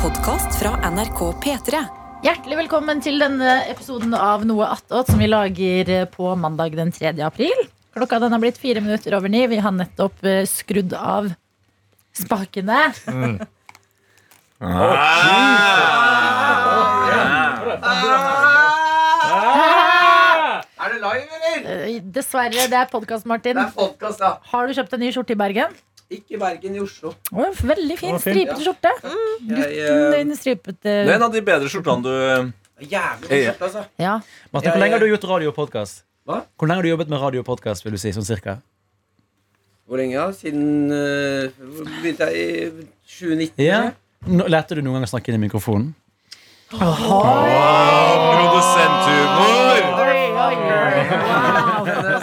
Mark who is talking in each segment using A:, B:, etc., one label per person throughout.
A: podkast fra NRK P3.
B: Hjertelig velkommen til denne episoden av Noe attåt, som vi lager eh, på mandag den 3. april. Klokka den har blitt fire minutter over ni. Vi har nettopp eh, skrudd av spakene.
C: Er det live, eller?
B: Eh, Dessverre, det er podkast, Martin.
C: Det er podcast, da.
B: Har du kjøpt en ny skjorte i Bergen?
C: Ikke i Bergen, i Oslo.
B: Å, en veldig fin,
D: Å, fin.
B: stripete skjorte.
C: Jeg,
B: Den er
C: eh,
B: en stripete
E: Det er en av de bedre skjortene du eh,
C: jævlig god skjorte, altså.
B: Ja.
D: Martin, hvor lenge har du gjort radio og podcast?
C: Hva?
D: Hvor lenge har du jobbet med radio og podcast, vil du si, sånn cirka?
C: Hvor lenge da? Siden eh, hvor begynte jeg i 2019?
D: Ja. Nå, lærte du noen gang å snakke inn i mikrofonen?
E: Produsenthumor!
C: Men, eh,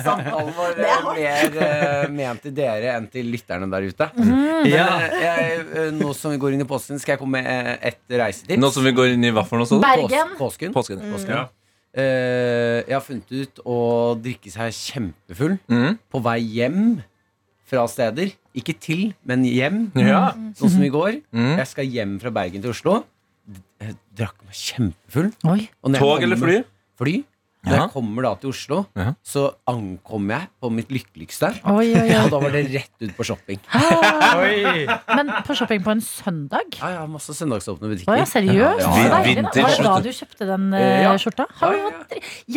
C: Samtalen var eh, mer eh, ment til dere enn til lytterne der ute.
B: Mhm.
D: Ja.
C: Eh, Jeg, eh, nå som vi går inn i posten, skal jeg komme med eh, et reisetips.
E: Nå som vi går inn i hva for noe sånt?
B: Bergen.
C: Pås- Påsken.
E: Påsken. Ja.
C: Eh, jeg har funnet ut å drikke seg kjempefull
E: Mhm.
C: på vei hjem fra steder. Ikke til, men hjem.
E: Ja.
C: Sånn som i går.
E: Mhm.
C: Jeg skal hjem fra Bergen til Oslo. Jeg drakk meg kjempefull.
B: Oi.
C: Og når jeg
E: Tog eller
C: kommer-
E: fly?
C: Fly. Når
E: Ja.
C: jeg kommer da til Oslo,
E: Ja.
C: så ankommer jeg på mitt lykkeligste.
B: Oi, oi, oi.
C: Og da var det rett ut på shopping.
D: Oi!
B: Men på shopping på en søndag?
C: Ja, ja, Masse
B: Å
C: søndagsåpne
B: ja,
C: butikker.
B: seriøst?
E: ja.
C: Ja,
B: Deilig, da. Var det da du kjøpte den eh,
C: Ja.
B: skjorta? Har du
C: Ja, ja.
B: hatt...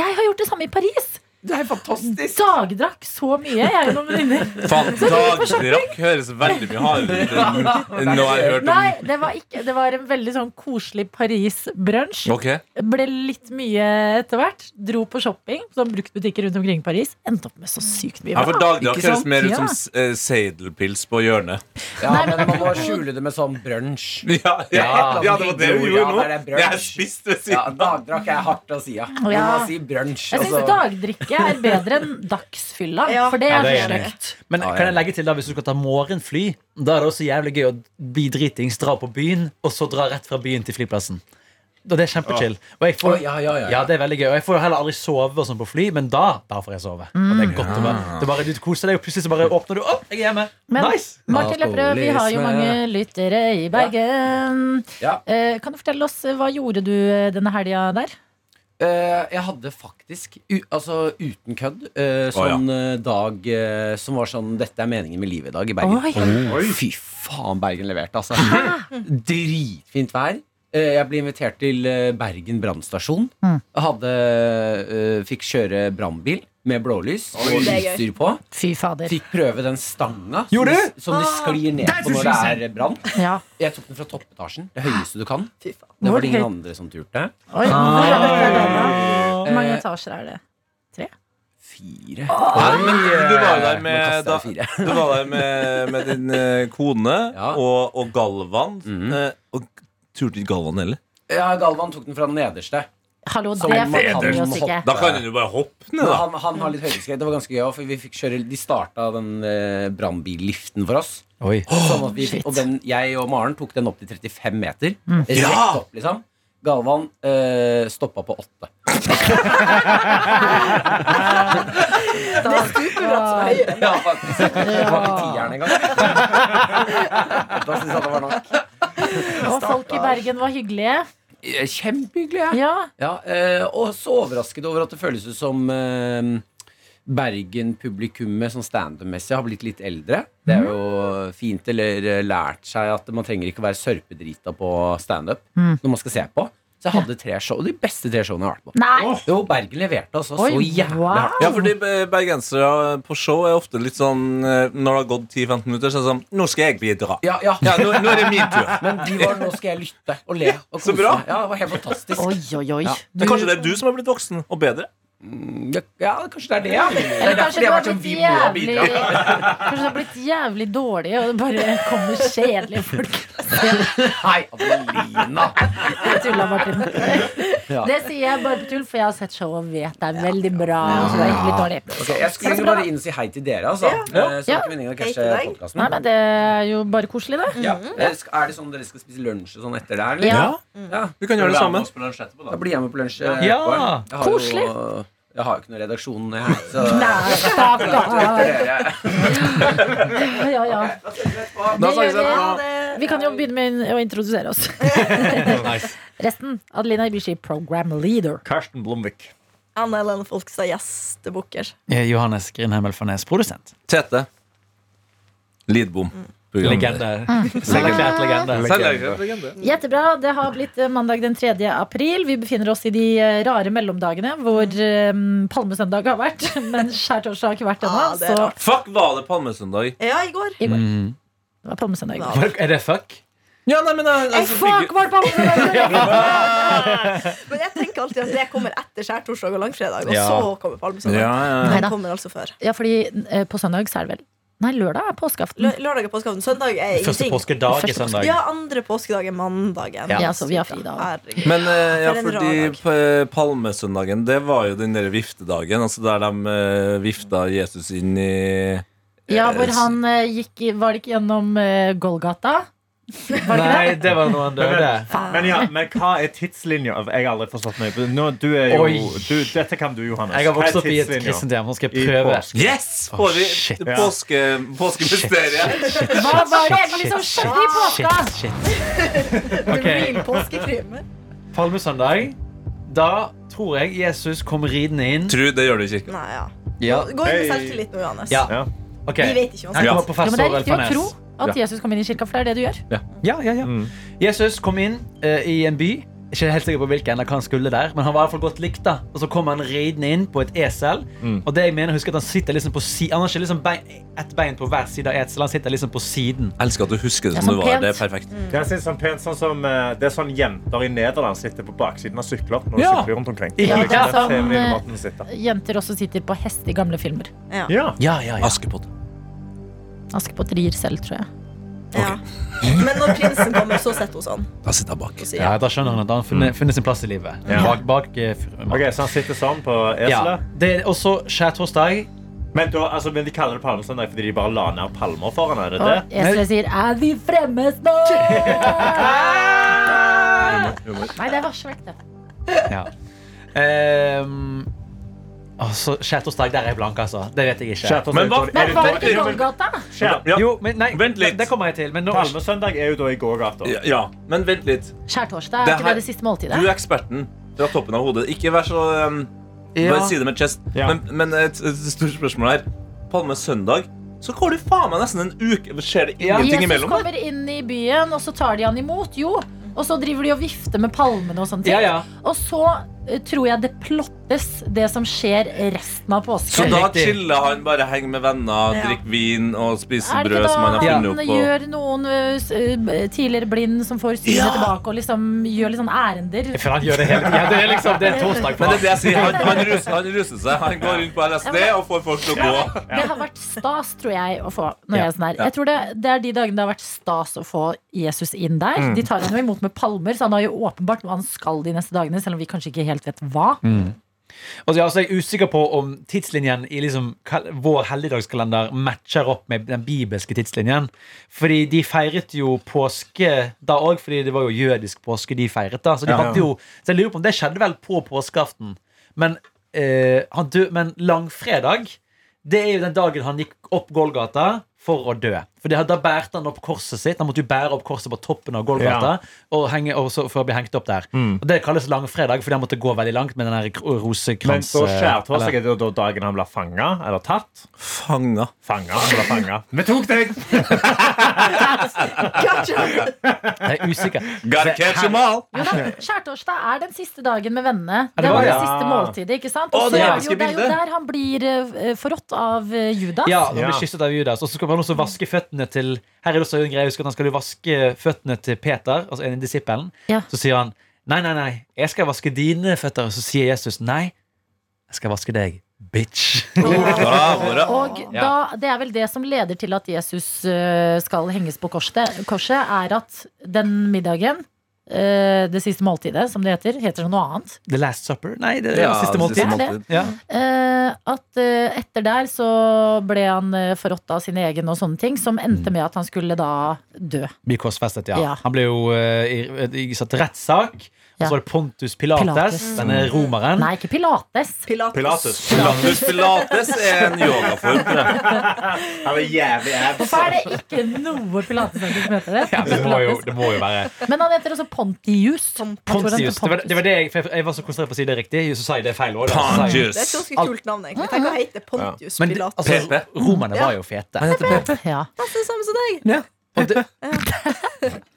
B: Jeg har gjort det samme i Paris!
C: Det er fantastisk!
B: Dagdrakk så mye, jeg og noen venninner.
E: Faen, dagdrakk høres veldig mye hardere ut enn noe jeg har hørt om.
B: Nei, det var, ikke, det var en veldig sånn koselig Paris-brunsj.
E: Ok,
B: Ble litt mye etter hvert. Dro på shopping, sånn bruktbutikker rundt omkring i Paris. Endte opp med så sykt mye
E: ja, for
B: bra.
E: Dagdrakk
B: Ikke sant?
E: høres mer ut
B: Ja.
E: som s- eh, seidelpils på hjørnet.
C: Ja,
B: Nei,
C: men
B: men altså,
C: man må
B: apropos-
C: skjule det med sånn brunsj.
E: Ja, ja, ja, det var det du
C: Ja,
E: gjorde
C: det er
E: nå.
C: brunch.
E: Jeg spiste ved
C: Ja,
E: siden av.
C: Dagdrakk er hardt å si, ja. Men
B: Ja.
C: man sier brunsj.
B: Jeg syns
C: Altså.
B: dagdrikke er bedre enn dagsfylla, for det
D: Ja,
B: er
D: det er
B: for
D: jeg enig
B: stygt.
D: Men kan jeg legge til da, hvis du skal ta morgenfly, da er det også jævlig gøy å bli dritings, dra på byen, og så dra rett fra byen til flyplassen. Og det er kjempechill. Og jeg
C: Å,
D: får...
C: ja, ja, ja.
D: Ja, det er veldig gøy. Og jeg får jo heller aldri sove og sånn på fly, men da, da får jeg sove. Og det er godt å være. Det er bare, du koser deg, og plutselig så bare åpner du opp, jeg er hjemme.
B: Men-
D: Nice!
B: Martin Lepperød, vi har jo
C: Alkoholisme.
B: mange lyttere i Bergen.
C: Ja.
B: Eh, kan du fortelle oss, eh, hva gjorde du eh, denne helga der?
C: Eh, jeg hadde faktisk, u altså uten kødd, eh, sånn eh, dag eh, som var sånn Dette er meningen med livet i dag i Bergen.
B: Oi.
C: Oi. Fy faen, Bergen leverte, altså. Dritfint vær. Eh, jeg ble invitert til eh, Bergen brannstasjon.
B: Mm.
C: Jeg Hadde eh, Fikk kjøre brannbil med blålys og
F: Det er gøy.
C: utstyr på.
B: Fy fader.
C: Fikk prøve den stanga som
D: Gjorde
C: de- som de sklir ned på når det er brann.
B: Ja.
C: Jeg tok den fra toppetasjen. Det høyeste du kan.
F: Fy faen.
C: Det
B: Hvor
C: var det ingen
B: høyt?
C: andre som turte.
B: Oi. Hvor mange
C: Ah. Eh,
B: etasjer er det?
C: Fire.
E: Nei, men du var jo der
C: Nå
E: med,
C: kastet
E: da,
C: jeg fire.
E: du var der med, med din eh, kone
C: Ja.
E: og, og Galvan.
C: Mhm.
E: eh, Og turte ikke Galvan heller?
C: Ja, Galvan tok den fra den nederste.
B: Hallo,
C: Som
B: det
C: en
B: forteller vi
C: leder.
B: oss ikke.
E: Da kan hun jo bare hoppe ned,
C: Men
E: da.
C: han, han har litt høydeskrekk. Det var ganske gøy, for vi fikk kjøre De starta den eh, brannbilliften for oss.
D: Oi.
C: Sånn at vi,
B: shit.
C: og den, jeg og Maren tok den opp til 35 meter.
E: Ja!
C: Rett opp, liksom. Galvan eh, stoppa på åtte.
B: Da,
C: Ja, faktisk. Det var ikke tieren engang. Da syns jeg det var nok.
B: og folk i Bergen var hyggelige.
C: Eh, Kjempehyggelig. Ja.
B: Ja,
C: Ja, eh, og så overrasket over at det føles ut som eh, Bergen-publikummet sånn standup-messig har blitt litt eldre. Det
B: Mhm.
C: er jo fint, eller eh, lært seg at man trenger ikke være sørpedrita på standup
B: Mm.
C: når man skal se på. Så jeg hadde tre show, de beste tre showene jeg har vært på.
B: Nei!
C: Jo, Bergen leverte altså
B: Oi,
C: så jævlig
B: wow.
C: hardt.
E: Ja, fordi eh, bergensere på show er ofte litt sånn eh, Når det har gått 10-15 minutter, så er det sånn Nå skal jeg bidra.
C: Ja, ja.
E: Ja, nå, nå er det min tur.
C: Men de var 'nå skal jeg lytte og le' og kose
E: Så bra.
C: meg. Ja, det var helt fantastisk.
B: Oi, oi, oi.
C: Ja.
E: Men kanskje det er du som har blitt voksen og bedre?
C: Mm, Ja, kanskje det er det, ja. Det er
B: Eller
C: derfor
B: kanskje
C: de
B: du har
C: har vært sånn,
B: blitt
C: vi må
B: jævlig
C: bidra.
B: Kanskje du har blitt jævlig dårlig, og det bare kommer kjedelige folk.
C: Nei, Adelina.
B: Jeg tulla, Martin.
C: Ja.
B: Det sier jeg bare på tull, for jeg har sett showet og vet det er veldig bra. Så det er ikke litt dårlig.
C: Ok, Jeg skulle egentlig bare inn og si hei til dere, altså. Eh, Så
B: Ja.
C: ikke meningen å
F: Hei til
C: cashe
F: deg.
C: podkasten.
B: Nei, men det er jo bare koselig, det.
C: Ja. Eh, sk- Er det sånn dere skal spise lunsj og sånn etter det her?
B: Mm.
C: eller?
B: Ja.
C: Ja.
E: Vi kan gjøre det sammen.
C: Da blir jeg med på lunsj. eh,
D: Ja.
C: etterpå. Jeg har jo-
B: Koselig.
C: Jeg har jo ikke noe redaksjon, jeg. Så
B: Nei, stakkar. Ja, ja. Det
E: Da snakkes
B: gjør
E: jeg
B: vi.
E: etterpå.
B: Vi kan jo begynne med å introdusere oss.
D: Nice.
B: Resten Adelina Ibishi, program leader.
D: Karsten Blomvik.
F: Anna Helene Folkstad, gjestebukker.
D: Eh, Johannes Grindheimel Farnes, produsent.
E: Tete. Lidbom. Programleder.
D: Legende. Selvklart legende.
E: Selvlegende. Mm. Legende.
B: Jettebra. Det har blitt eh, mandag den 3. april. Vi befinner oss i de eh, rare mellomdagene hvor eh, palmesøndag har vært, men skjærtorsdag har ikke vært ennå.
F: Ah, det er
B: Så
F: rart.
E: Fuck, var det palmesøndag?
F: Ja, i går.
B: i går.
D: Mm.
B: Det var palmesøndag i går.
D: Fuck, Er det fuck?
E: Ja, nei, men jeg- altså,
B: Fuck,
E: fikk-
B: var det palmesøndag? i går?
F: Men jeg tenker alltid at det kommer etter skjærtorsdag og langfredag, og
D: Ja.
F: så kommer
E: ja,
F: palmesøndag.
E: ja.
B: Nei
F: Den
B: da.
F: kommer altså før.
B: Ja, fordi eh, på søndag så er det vel Nei, lørdag er påskeaften.
F: Lø lørdag er påskeaften. Søndag er
D: Første
F: ingenting.
D: påskedag er
B: Første
D: søndag.
F: Ja, andre påskedag er mandagen.
B: Ja, så vi har fri da.
F: Herregud.
E: Men eh, ja,
F: For en rar
E: fordi
F: dag.
E: p- palmesøndagen, det var jo den der viftedagen. Altså der de eh, vifta Jesus inn i
B: Ja, hvor han eh, gikk i- Var det ikke gjennom eh, Golgata? Var det ikke det?
D: Nei, det var noen døde.
G: Men, ja, men hva er tidslinja? Altså, Jeg har aldri forstått meg på Nå, du er jo,
D: Oi.
G: du, Dette kan du, Johannes.
D: Jeg har vokst opp i et
G: Hva er tidslinja?
D: kristent hjem. Nå skal
G: I
D: jeg prøve.
G: påske.
E: Yes!
D: Å,
E: Får vi
D: shit.
E: påske, påskemysteriet?
B: Hva var det egentlig som skjedde i påska?
D: Shit, shit. Ok,
F: Real påskekrim.
D: Palmesøndag. Da tror jeg Jesus kom ridende inn.
E: Tru, det gjør du ikke.
F: Nei, ja.
D: Ja.
F: Gå inn med
G: Hei.
F: selvtillit nå, Johannes.
D: Ja.
G: Ja.
D: ok
F: Vi
D: Her
F: vet ikke hva
E: Ja.
D: kommer
F: som
B: Ja, men
D: professor
B: det er riktig å
D: Elfarnes.
B: tro at Jesus kom inn i kirka, for det er det du gjør.
D: Ja, ja, ja.
G: Mm.
D: Jesus kom inn eh, i en by. Ikke helt sikker på hvilken eller hva han skulle der, men han var i hvert fall godt likt. da Og så kom han ridende inn på et esel.
G: Mm.
D: Og det jeg mener, husk at Han sitter liksom på si Han har ikke liksom bein, ett bein på hver side av eselet, han sitter liksom på siden.
E: Jeg elsker at du husker det
B: Ja,
E: som
B: sånn
E: du var. Det
B: pent.
E: er perfekt.
G: Det er sånn, pent, sånn som, eh, det er sånn jenter i Nederland sitter på baksiden av sykler når de
D: Ja.
G: sykler rundt omkring.
D: Ja,
G: Det
B: ja,
G: er liksom den
B: sånn,
G: feminine
B: eh,
G: måten å sitte.
B: Jenter også sitter på hest i gamle filmer.
G: Ja.
D: Ja, ja, ja.
E: Askepott.
B: Askepott rir selv, tror jeg.
F: Ja. Men når prinsen kommer, så setter hun sånn
E: Da sitter jeg bak.
F: og sier
D: Ja, Da skjønner han at han har funnet, funnet sin plass i livet.
G: Ja.
D: Bak, bak eh, fr-
G: Ok, Så han sitter sånn på
D: ja.
G: eselet.
D: Det er også skjærtorsdag.
G: Men, da, altså, men de kaller det palmesøndag fordi de bare la ned palmer foran. Er det det?
B: Og eselet sier 'Er vi fremmes nå?' Nei, det er varsvekt, det.
D: Ja. Ehm, altså, skjærtorsdag, der er jeg blank, altså. Det vet jeg ikke.
G: Skjærtorsdag,
E: Men hva-
G: er
B: Men
G: det
B: var
G: da-
B: det ikke
G: er det-
B: Golgata?
G: Skjær-
E: Ja.
D: Jo, men nei,
E: Vent litt.
D: Det kommer jeg til. Men nå,
G: Palmesøndag er jo da i gågata.
E: Ja, ja, men vent litt.
B: Skjærtorsdag,
E: Det
B: er ikke
E: her-
B: det det siste måltidet?
E: Du er eksperten fra toppen av hodet. Ikke vær så um,
D: Ja.
E: Bare si det med chest.
G: Ja.
E: Men, men et, et stort spørsmål her. Palmesøndag, så går det faen meg nesten en uke. Skjer det ingenting
B: Jesus
E: imellom?
B: kommer inn i byen, og så tar de han imot. Jo. Og så driver de og vifter med palmene og sånne ting.
D: Ja, ja.
B: Og så eh, tror jeg det plottes, det som skjer resten av
E: Så
B: påsken.
E: da
D: Riktig.
E: chiller han, bare henger med venner,
F: Ja.
E: drikker vin og spiser
B: er det
E: brød
B: ikke da
E: som han har
B: han
E: funnet opp. Og...
B: gjør noen eh, s- eh, b- tidligere blind som får synet
E: Ja.
B: tilbake, og liksom gjør litt sånn ærender?
D: for han gjør det hele tiden. Det er liksom, det er en torsdag for
E: Men det er det
D: han.
E: jeg sier. Han, han, ruser, han ruser seg. Han går rundt på LSD og får folk til å gå.
B: Det har vært stas, tror jeg, å få. Når
D: Ja.
B: jeg, er sånn her. jeg tror det, det er de dagene det har vært stas å få Jesus inn der. De tar han jo imot med palmer, så han har jo åpenbart noe han skal de neste dagene, selv om vi kanskje ikke helt vet hva.
D: Og så er Altså, jeg også usikker på om tidslinjen i liksom kal- vår helligdagskalender matcher opp med den bibelske tidslinjen. Fordi de feiret jo påske da òg, fordi det var jo jødisk påske de feiret. da Så de hadde jo, så jeg lurer på om det skjedde vel på påskeaften. Men, eh, han dø, men langfredag, det er jo den dagen han gikk opp Golgata for å dø. For det- da bærte han opp korset sitt. Han måtte jo bære opp korset på toppen av Golgata
G: Ja.
D: og henge, og så, for å bli hengt opp der. Og Det kalles langfredag, fordi han måtte gå veldig langt med den her kro-
G: Men
D: rosekrans...
G: så
D: eh, eller-
G: skjærtorsdag er det da dagen han blir fanga eller tatt.
E: Fanga.
G: Fanga. Han blir fanga. Vi tok deg!
F: Gotcha!
D: Jeg er usikker.
E: Gotta catch 'em all.
B: Jo da, Skjærtorsdag er den siste dagen med vennene.
D: Ja,
B: Det
D: det var
B: var det
D: det.
B: siste måltidet. ikke sant?
E: Å,
B: Og så
E: det
B: er
E: elsker
B: jo, det er jo
E: bildet.
B: der han blir eh, forrådt av eh, Judas.
D: Ja, han blir
G: Ja.
D: kysset av Judas. Og så skal man også vaske føttene til Her er det også en greie, husk at han skal jo vaske føttene til Peter, altså en av disippelen.
B: Ja.
D: Så sier han nei, nei, nei, jeg skal vaske dine føtter. Og så sier Jesus nei, jeg skal vaske deg, bitch.
E: Ja, bra.
B: Og da, det er vel det som leder til at Jesus eh, skal henges på korset, korset er at den middagen eh, det siste måltidet, som det heter, heter noe annet.
D: The Last Supper? Nei, det er siste måltid.
B: måltid.
D: Ja.
B: Eh, at eh, etter der så ble han eh, forrådt av sin egen og sånne ting, som
D: Mm.
B: endte med at han skulle da dø.
D: Blir korsfestet, ja.
B: Ja.
D: Han ble jo eh, i- i- satt til rettssak. Og
B: Ja.
D: så var det Pontus Pilates,
B: Pilates. Mm.
D: denne romeren.
B: Nei, ikke pilates.
F: Pilates.
G: Pilates.
E: Pilates, pilates er en yogaform. tror jeg.
G: Han er jævlig abs.
B: Hvorfor er det ikke noe pilatesnakking som heter det?
D: Ja, det, må jo, det må jo være
B: Men han heter også Pontius.
D: Pontius. Det var det, var det jeg, for jeg- jeg var så konsentrert på å si det riktig, så sa jeg det feil òg.
E: Pontius.
F: Det er et ganske kult navn, egentlig. Tenk å hete Pontius
D: Men det-
F: Pilates.
D: altså,
E: Pepe.
D: romerne var jo fete.
B: Ja.
F: Det er det samme som deg.
D: Og, det,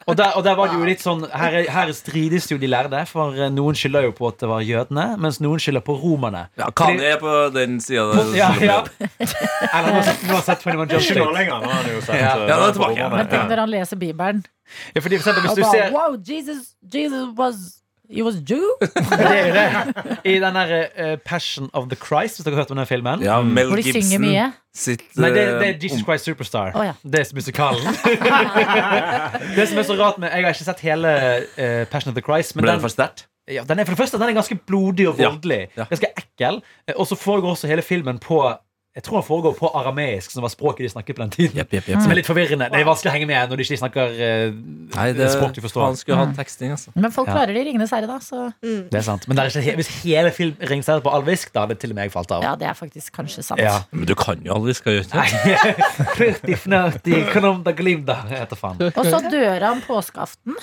D: og, der, og der var det jo litt sånn her, er- her strides jo de lærde, for eh, noen skylder jo på at det var jødene, mens noen skylder på romerne.
E: Ja, Kanye er på den sida.
D: Ja, ja. Eller nå, nå har jeg sett 21 Jump
G: Ikke nå
D: Street.
G: lenger. Nå er han jo sett
D: Ja.
G: eh,
E: Ja, nå er han tilbake.
G: på
B: Men
G: romerne.
B: tenk når han leser Bibelen
D: Ja, fordi for eksempel,
B: og
D: hvis du
B: bare
D: ser
B: Wow, Jesus, Jesus was He was Jew?
D: det er jo det, i den der eh, Passion of the Christ, hvis dere har hørt om den filmen
E: Ja, Mel
B: Hvor de synger
E: Gibson
B: mye.
E: sitt
D: Nei, det,
E: eh,
D: det er Jesus Christ Superstar.
B: Å, ja.
D: Det er musikalen. det som er så rart med Jeg har ikke sett hele eh, Passion of the Christ. Men
E: Ble det
D: den,
E: for sterkt?
D: ja, den er for det første den er ganske blodig og
E: Ja,
D: voldelig.
E: ja.
D: Ganske ekkel. Eh, Og så foregår også hele filmen på Jeg tror den foregår på arameisk, som var språket de snakket på den tiden.
E: Jepp, jepp, jepp.
D: Som er litt forvirrende. Det er vanskelig å henge med når de ikke snakker eh,
E: Nei, det
D: språk du forstår. Mm.
E: Han skulle hatt teksting, altså.
B: Men folk
D: Ja.
B: klarer det i Ringenes herre, da. Så
F: Mm,
D: Det er sant. Men det er ikke, he- hvis hele film ringes her på alvisk, da hadde til og med jeg falt av.
B: ja, det er faktisk kanskje sant.
D: Ja.
E: Men du kan jo aldri skal gjøre det.
D: Nei, Pretty fnøttig, kanon da glimda, heter faen.
B: Og så dør han påskeaften.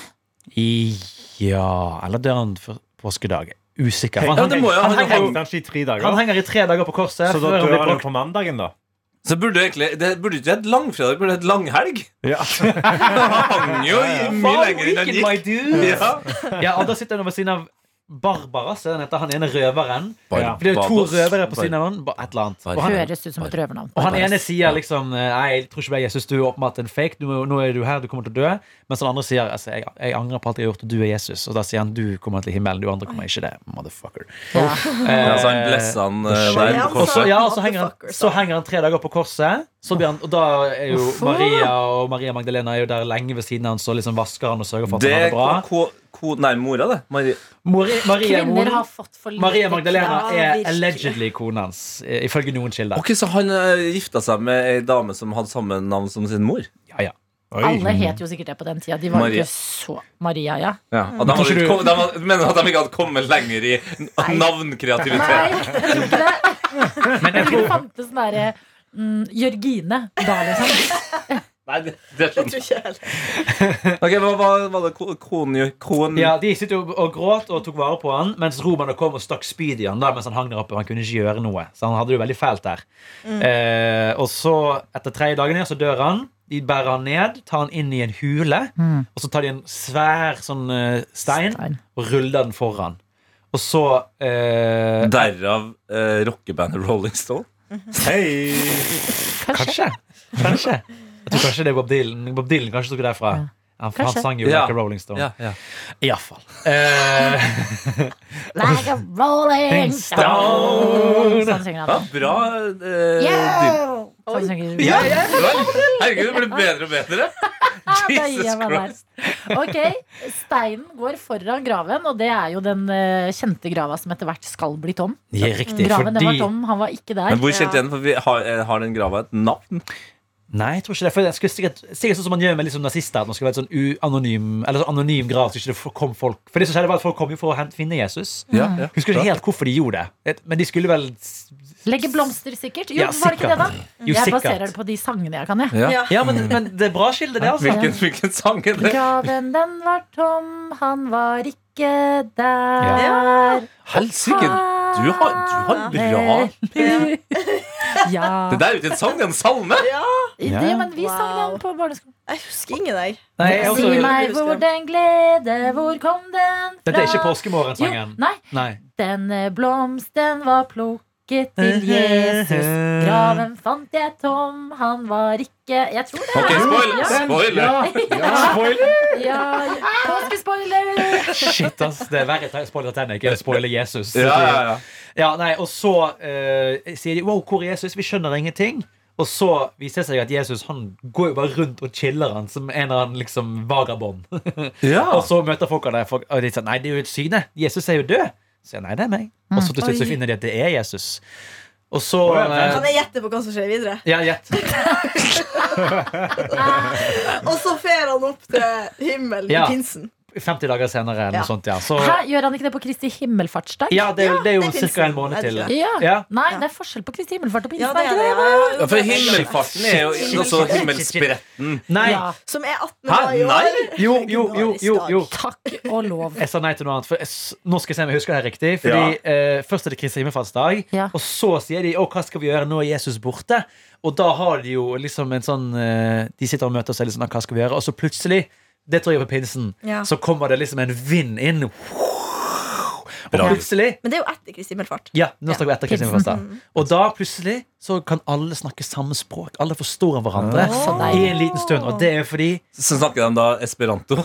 D: I, ja Eller dør han for påskedag? Usikker.
G: Hei,
D: Han,
E: Ja, det må
D: henger,
E: jo, han,
D: han,
G: Hengte
D: henger,
G: han ikke i tre dager?
D: han henger i tre dager på korset.
G: så da
D: før han
G: dør
D: blir
G: han jo
D: brukt.
G: på mandagen, da.
E: Så burde egentlig Det burde ikke hett langfredag, det burde hett langhelg.
G: Ja.
E: Han hang jo i mye
D: Faen,
E: lenger enn han
D: weekend, my
E: gikk.
D: dude.
E: Ja.
D: Ja, og Da sitter han ved siden av Barbara, så den heter han ene røveren.
G: Ja.
D: For det er jo to
E: Barbaros.
D: røvere på
E: Bar-
D: siden av han. Bare et eller annet. Og han,
B: Høres ut som et røvernavn.
D: og han
E: Barbaros.
D: ene sier liksom Nei, jeg tror ikke du er Jesus, du er åpenbart en fake. Du, må- nå er du her, du kommer til å dø. Mens den andre sier altså, jeg, jeg angrer på alt jeg har gjort, og du er Jesus. Og da sier han du kommer til himmelen, du andre kommer ikke det. Motherfucker.
B: Ja.
E: Ja, så han blessa han eh, der på
D: Og
E: korset.
D: så, altså. ja, og så, henger han,
F: Motherfucker,
D: så
F: sa han.
D: henger han tre dager på korset. Så blir han, og da er jo
B: Hvorfor?
D: Maria og Maria Magdalena er jo der lenge ved siden av hans og liksom vasker han og sørger for at
E: Det
D: han har
E: er
D: det bra.
E: ko, ko, Nei, mora, det. Marie.
D: Mori, Maria, er
B: Kvinner har
D: moren.
B: fått for lite
D: Maria Magdalena
F: Ja,
D: er
F: virkelig.
D: allegedly konen hans, eh, ifølge noen kilder.
E: Ok, Så han eh, gifta seg med ei dame som hadde samme navn som sin mor?
D: Ja, ja.
B: Alle het jo sikkert det på den tida. De var jo
E: Maria.
B: ikke så Maria, ja.
E: Ja. Og de
D: Tror ikke
E: hadde,
D: du-
E: kom, de hadde, mener at de ikke hadde kommet lenger i n- navnkreativitet?
B: jeg tror ikke det. Jeg
D: Men jeg
B: tror
D: tror
B: det fantes sånn derre mm, Jørgine da, liksom.
E: Nei, det, det
F: Jeg
E: skjønner
D: sånn.
F: tror ikke helt.
E: jeg. Ok, Hva var, var det ko- konen gjorde? Konen
D: ja, De sitter jo og gråt og tok vare på han mens romerne kom og stakk spyd i han da, mens han hang der oppe. Han kunne ikke gjøre noe, så han hadde det jo veldig fælt der. Eh, og så, etter tredje dagen, ja, så dør han. De bærer han ned, tar han inn i en hule, og så tar de en svær sånn eh, stein
B: Mm. Stein.
D: og ruller den foran. Og så eh,
E: Derav eh, rockebandet Rolling Stone?
G: Hei!
D: Kanskje. Kanskje. Jeg tror kanskje det er Bob Dylan. Bob Dylan kanskje tok det derfra. Han, han
B: Kanskje.
D: sang jo
E: Ja.
D: like a Rolling Stone.
E: Ja, ja.
D: I hvert fall. Eh,
B: Like a rolling stone. Sånn synger han.
E: ja bra eh, dyr.
B: Yeah! Sånn synger han.
E: Ja, ja, det var- Herregud, det blir bedre og bedre.
B: Da gir
E: Jesus
B: jeg meg der.
E: Christ.
B: Ok, steinen går foran graven, og det er jo den eh, kjente grava som etter hvert skal bli tom.
D: ja, riktig.
B: Graven den var
D: Fordi
B: tom, han var ikke der.
E: Men hvor kjent igjen? For vi har, eh, har den grava et navn?
D: Nei, jeg tror ikke det. For jeg skulle sikkert, sikkert sånn som man gjør med liksom nazister. At man skal være et sånn uanonym Eller sånn anonym grav. Så ikke det f- kom folk For det som skjedde var at folk kom jo for å hente, finne Jesus.
E: Ja, ja.
D: Husker ikke helt hvorfor de gjorde det. Et- Men de skulle vel
B: Legge blomster, sikkert. Jo,
D: Ja,
B: var det ikke det, da?
D: Jo,
B: jeg
D: sikkert.
B: baserer det på de sangene jeg kan, jeg.
E: Ja.
F: Ja.
D: Ja, men, men det er bra kilde, det, altså.
E: Hvilken, hvilken sang er det?
B: Graven, den var tom, han var ikke der.
E: Helsike, du har, du har bra
B: Ja.
E: Det der er jo ikke en sang, det er en salme!
B: Det, men vi sang den
F: Wow.
B: på barneskolen.
F: Jeg husker ingen, jeg.
D: Nei, jeg er
B: Si
D: også,
B: meg hvor den glede, hvor kom den fra?
D: dette er ikke
B: Jo,
D: Påskemorgen-sangen.
B: nei.
D: Nei.
B: Denne eh, blomsten var plukket til Jesus. Graven fant jeg tom, han var ikke Jeg tror det.
E: Ok,
B: er-
E: spoiler! spoiler.
B: Ja, ja. Påskespoiler!
D: Shit, ass. Det er verre å ta- spoiler Titanic enn å spoile Jesus.
E: Ja, ja, ja.
D: Ja, nei, Og så eh, sier de 'wow, hvor er Jesus?' Vi skjønner ingenting. Og så viser det seg at Jesus han går jo bare rundt og chiller han som en eller annen liksom vagabond. og så møter folk han der, folk- og de sier nei, det er jo et syne. Jesus er jo død. Så sier jeg, nei, det er meg. Og så til slutt så finner de at det er Jesus. Og så eh,
F: Kan jeg gjette på hva som skjer videre?
D: Ja, gjett.
F: Og så fer han opp til himmelen
D: Ja.
F: i pinsen.
D: 50 dager senere eller
F: Ja.
D: noe sånt, ja. Så,
B: Hæ, gjør han ikke det på Kristi himmelfartsdag?
D: ja, det, er jo- det er jo
F: Ja, det er
D: ca. en
F: pinsen,
D: måned
F: er det
D: til.
F: ikke
B: Ja.
D: Ja.
B: Nei, det er forskjell på Kristi himmelfart og
F: Ja,
B: pinsedag.
F: det er det.
B: ikke
F: Ja, ja, ja.
E: Ja, for himmelfarten er jo altså himmelspretten.
D: Nei.
B: Ja.
F: Som er 18.
D: Hæ?
F: mai i år.
D: Nei? Jo, jo, jo, jo, jo.
B: Takk og lov.
D: Jeg sa nei til noe annet. For jeg, s- nå skal jeg se om jeg husker det her riktig. Fordi eh, Først er det Kristi himmelfartsdag,
B: Ja.
D: og så sier de Å, hva skal vi gjøre? Nå er Jesus borte. Og da har de jo liksom en sånn eh, De sitter og møter seg litt sånn «Ah, Hva skal vi gjøre? Og så plutselig, det tror jeg på pinsen,
F: Ja.
D: så kommer det liksom en vind inn. Og plutselig
F: Men det er jo etter Kristi himmelfart.
D: Ja, nå snakker vi etter Kristi
B: Pinsen. Mm.
D: himmelfartsdag. Og da plutselig så kan alle snakke samme språk. Alle forstår hverandre
B: så
D: i
B: deilig.
D: en liten stund. Og det er jo fordi
E: Så snakker de da esperanto.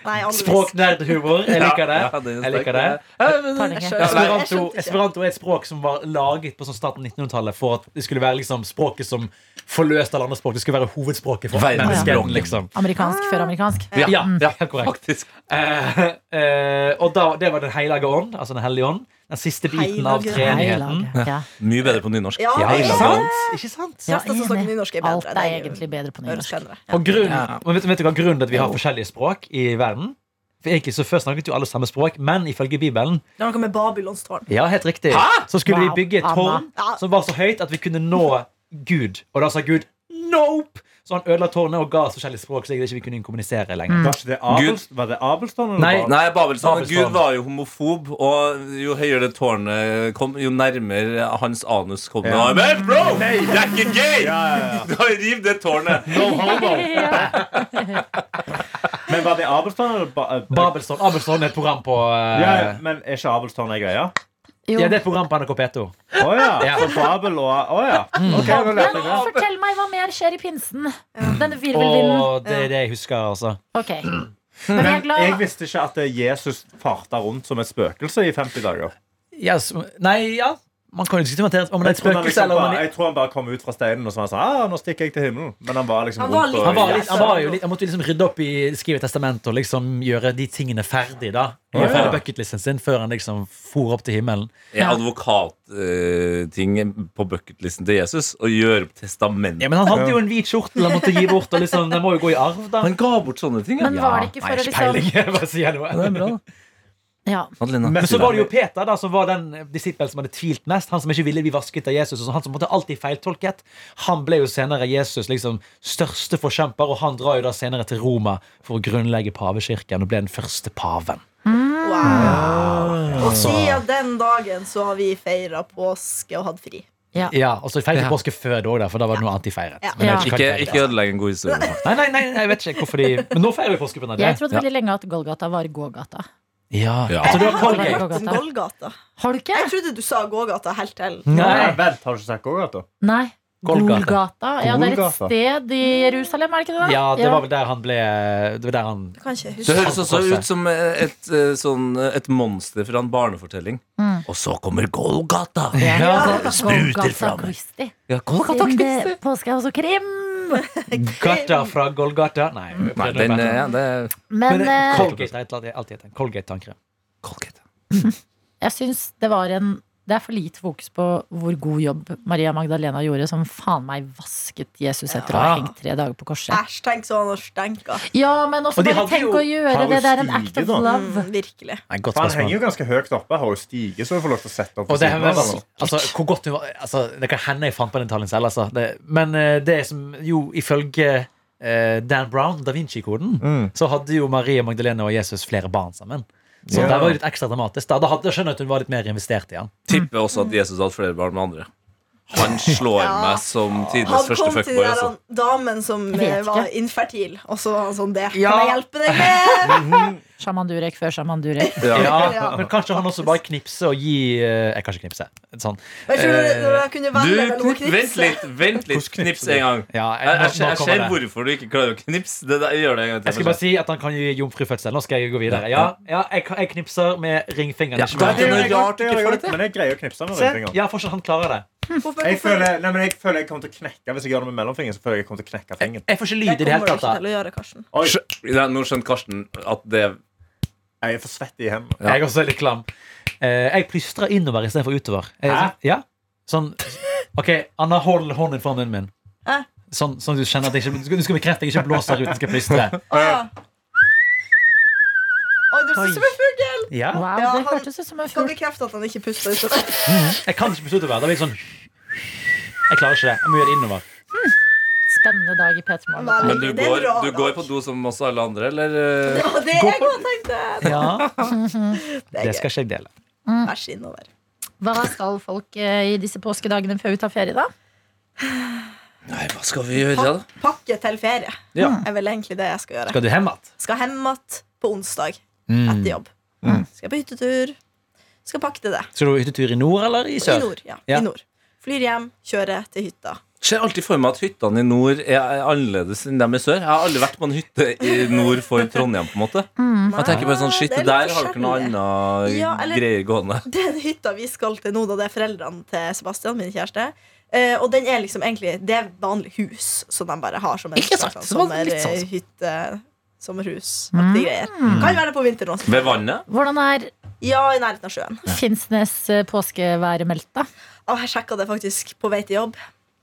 F: Nei, annerledes.
D: Språknerdhumor. Jeg liker det.
E: Ja, det er
D: Jeg liker det.
E: sterkt.
F: Jeg
B: Tarninge.
F: skjønner. Jeg
D: Esperanto,
F: skjønte ikke.
D: Esperanto er et språk som var laget på sånn starten av 1900-tallet for at det skulle være liksom språket som forløste alle andre språk. Det skulle være hovedspråket for menneskeheten.
E: Verdensspråket.
D: Liksom.
B: Amerikansk før amerikansk.
D: Ja, ja, helt korrekt.
E: Faktisk.
D: Eh, eh, og da, det var Den hellige ånd, altså Den hellige ånd. Den siste biten av
F: Hellige.
D: treenigheten.
B: Heilag, Ja.
E: Mye bedre på nynorsk.
F: Ja,
D: Ja, ikke
F: Heilige
D: sant? Ikke sant?
B: Ja,
F: Kjefta som snakker
B: enig.
F: nynorsk er bedre.
B: Alt
F: Det
B: er
F: er jo-
B: egentlig bedre på
F: Høres
B: nynorsk.
F: penere.
D: Og grunn, men vet, vet du hva grunnen til at vi har forskjellige språk i verden? For egentlig så Før snakket jo alle samme språk, men ifølge Bibelen
F: Det er noe med Babylons tårn.
D: Ja, helt riktig. Så skulle
B: Wow,
D: vi bygge et
B: Anna.
D: tårn
F: Ja.
D: som var så høyt at vi kunne nå Gud. Og da sa Gud nope! Så han ødela tårnet og ga oss forskjellige språk. Så ikke vi kunne kommunisere lenger
B: Mm.
G: Var ikke det Abelst- var det Abelstården? eller
D: Nei.
G: Babel-
E: Nei, Babelsson.
D: Babelsson.
E: sånn, Gud var jo homofob, og jo høyere det tårnet kom, jo nærmere hans anus kom det.
G: Ja.
E: Men bro! Det er ikke gay!
G: Ja, ja, ja.
E: Riv det tårnet!
G: Men var det Abelstården eller ba eh,
D: Babelstårn Abelstårn er et program på eh,
G: Ja, ja, men er ikke Abelstårn ei greie?
B: Jo.
D: ja, det er et program på NRK P2.
G: Å
D: Ja. Mm.
G: ja. Så Babel og Å ja. Ok, nå lærte jeg det.
B: Men fortell meg hva mer skjer i pinsen. Denne virvelvinden.
D: Og det er det jeg husker, altså.
B: Ok. Men jeg er
G: Jeg
B: glad.
G: visste ikke at eh, Jesus farta rundt som et spøkelse i 50 dager.
D: Yes, nei, ja Man kan jo diskutere om det er
G: Jeg
D: et
G: tror, han
D: spøkelse
G: liksom
D: eller om
G: bare,
D: det
G: jeg tror han bare kom ut fra steinen og så var han sånn ah, 'Nå stikker jeg til himmelen.' Men han var liksom
F: Han var
G: rundt og
D: han var, litt,
F: Ja.
D: han, var jo litt, han måtte jo liksom rydde opp i skrive testamentet og liksom gjøre de tingene ferdig da
G: Ja.
D: Gjøre ferdig bucketlisten sin før han liksom for opp til himmelen.
E: Er advokatting på bucketlisten til Jesus å gjøre opp testamentet?
D: Ja, men han hadde jo en hvit skjorte han måtte gi bort. Og liksom, den må jo gå i arv, da.
E: Han ga bort sånne ting, ja.
B: Men var det ikke for å liksom
D: jeg bare sier noe.
B: Ja.
E: Adelina.
D: Men så var det jo Peter, da, som var den disippelen som hadde tvilt mest. Han som ikke ville bli vasket av Jesus, og sånn, han som måtte alltid feiltolket. Han ble jo senere Jesus' liksom største forkjemper, og han drar jo da senere til Roma for å grunnlegge pavekirken og ble den første paven.
F: Mm. Wow. Og siden den dagen så har vi feira påske og hatt fri.
D: Ja, og så feiret de påske før det òg, for da var det noe annet de feiret.
F: Ja.
D: Men jeg vet
E: Ikke,
D: hva de
E: ikke
D: feiret.
E: ødelegg en god historie.
D: Nei, nei, nei, jeg vet ikke hvorfor de Men nå feirer vi påske pga. det.
B: Jeg trodde veldig lenge at Golgata var Gågata.
D: Ja.
E: Ja.
D: Så det var
B: Har du
D: Colgate.
B: Gågata?
F: Golgata.
B: Har du ikke?
F: Jeg trodde du sa gågata helt til.
D: Nei.
G: Nei, vent, har du ikke sagt Golgata?
B: Nei.
D: Golgata.
B: Golgata. Ja, det er et
G: Golgata.
B: sted i Jerusalem, er det ikke det?
D: Ja, det var vel der han ble Det var der han
F: Jeg kan ikke
E: Det
F: huske.
E: høres også ut som eh, et, eh, sånn, eh, et monster fra en barnefortelling. Og så kommer Golgata!
B: Ja,
E: Spruter
B: Golgata
E: fra meg.
B: Christi.
E: Ja, Golgata
B: Siden det
E: Christi.
B: er påske hos Krim.
D: Gata fra Golgata Nei,
E: Nei, den, eh, ja, det er
B: Men eh,
D: Colgate er et eller annet- alltid et Colgate tannkrem.
E: Golgata.
B: jeg syns det var en det er for lite fokus på hvor god jobb Maria Magdalena gjorde, som faen meg vasket Jesus etter å ha hengt tre dager på korset.
F: Æsj, tenk sånn og stenka.
B: Ja, men også
D: Og de
B: bare
D: hadde
B: tenk
D: jo-
B: å gjøre
G: har jo
B: det. Det er en act
G: stige,
B: of
G: da.
B: love.
F: Mm, virkelig.
D: Nei, godt
G: For han henger
D: spørsmål.
G: jo ganske høyt oppe. Har jo stige, så du får lov til å sette opp. på
D: Og det, her
G: siden
D: med,
G: av den.
D: altså, hvor godt hun var altså, Det kan hende jeg fant på den tallen selv, altså. Det, men eh, det som jo ifølge eh, Dan Brown, Da Vinci-koden, så hadde jo Maria Magdalena og Jesus flere barn sammen. Så
G: Ja.
D: det var jo litt ekstra dramatisk. Da, da hadde jeg skjønner jeg at hun var litt mer investert i han.
E: Tipper også at Jesus hadde flere barn med andre. Han slår
F: Ja.
E: meg som tidenes
F: Han
E: første
F: kom til
E: fuckboy.
F: den der
E: Altså.
F: han- damen som
B: vet
F: eh, var
B: ikke.
F: infertil, og så var han sånn det.
D: Ja.
F: Kan jeg hjelpe deg med?
B: Sjaman Durek før sjaman Durek.
E: Ja.
D: Ja, men kanskje han også bare knipse og gi eh, Jeg kan ikke knipse. Sånn.
F: Jeg tror det- når jeg
E: Du,
F: kunne velge mellom å
E: knips, vent
F: knipse
E: litt, vent litt. Knips en gang.
D: Ja,
E: Jeg,
D: nå-
E: jeg,
D: nå
E: ser- jeg
D: kommer
E: ser
D: det.
E: hvorfor du ikke klarer å knipse. Det der, gjør det en gang
D: Jeg skal
E: til.
D: bare si at han kan gi jomfrufødsel. Nå skal jeg gå videre. Ja, ja jeg, kan- jeg knipser med ringfingeren.
E: Ja,
D: ikke med
E: det er noe
G: Det gjør
E: rart
G: jeg godt, det
E: ikke
G: gjør jeg
E: får
G: godt, Men jeg greier å knipse med
D: Se,
G: ringfingeren.
D: ja, fortsatt han klarer det.
F: Hvorfor,
G: Jeg
F: hvorfor-
G: føler, nei, men jeg føler jeg kommer til å knekke hvis jeg gjør det med mellomfingeren. Så føler jeg jeg kommer til å knekke fingeren
D: Jeg får ikke lyd
F: Det
D: i det hele
F: kommer du
D: tatt.
F: ikke
D: da.
F: til å gjøre, Karsten.
G: Oi,
E: Skjø- Nei, Nå skjønte Karsten at det
G: Jeg er for svett i hendene.
E: Ja.
D: Jeg er også litt klam. Eh, jeg plystrer innover istedenfor utover. Jeg,
G: Hæ?
D: Ja. Sånn OK, Anna, hold hånden foran munnen min.
F: Hæ?
D: Sånn, sånn at du kjenner at jeg ikke Du skal- du skal bekrefte at jeg ikke blåser ut. Jeg skal plystre.
F: Å, ja. Oi, du ser
D: Oi.
F: som en fugl!
D: Ja.
B: Wow,
F: Ja,
B: det
F: han-
B: hørtes ut som en
F: Kan
B: fugl.
F: bekrefte at han ikke puster. ut av-
D: Jeg kan ikke puste utover. Da blir jeg sånn Jeg klarer ikke det. Jeg må gjøre det innover.
B: Spennende dag i P3 Morgen.
E: Men du
F: Det er
E: går,
F: bra,
E: du
F: da.
E: går på do som oss alle andre, eller? eh?
F: Ja, det er jeg godt tenkte!
D: Ja,
F: Det
D: Det
F: er gøy.
D: skal ikke jeg dele.
F: Vær så innover.
B: Hva skal folk eh, i disse påskedagene før vi tar ferie, da?
E: Nei, hva skal vi gjøre, da?
F: Pak pakke til ferie
E: Ja.
F: er vel egentlig det jeg skal gjøre.
D: Skal du hjem igjen?
F: Skal hjem igjen på onsdag
D: Mm.
F: etter jobb. Skal på hyttetur. Skal pakke til det.
D: Skal du hyttetur i nord eller i
F: I
D: sør?
F: nord. Ja.
D: Ja.
F: I nord. Flyr hjem, kjører til hytta.
E: Ser alltid for meg at hyttene i nord er er annerledes enn dem i sør. Jeg har aldri vært på en hytte i nord for Trondheim, på en måte. Jeg tenker bare sånn, shit,
F: Det er
E: det
F: litt
E: der har dere noe
F: forskjellig.
E: annet
F: Ja, eller-
E: greier gående.
F: Den hytta vi skal til nå, da det er foreldrene til Sebastian, min kjæreste. eh, og den er liksom egentlig Det er vanlig hus som de bare har som en
E: Ikke sant?
F: sånn
E: Så det var litt sånn.
F: sommerhytte. Sommerhus-aktige greier.
E: Mm.
F: Kan være det på vinteren også.
E: Ved vannet?
B: Hvordan er
F: Ja, i nærheten av sjøen.
B: Finnsnes eh, påskeværet meldt, da?
F: Og jeg sjekka det faktisk på vei til jobb.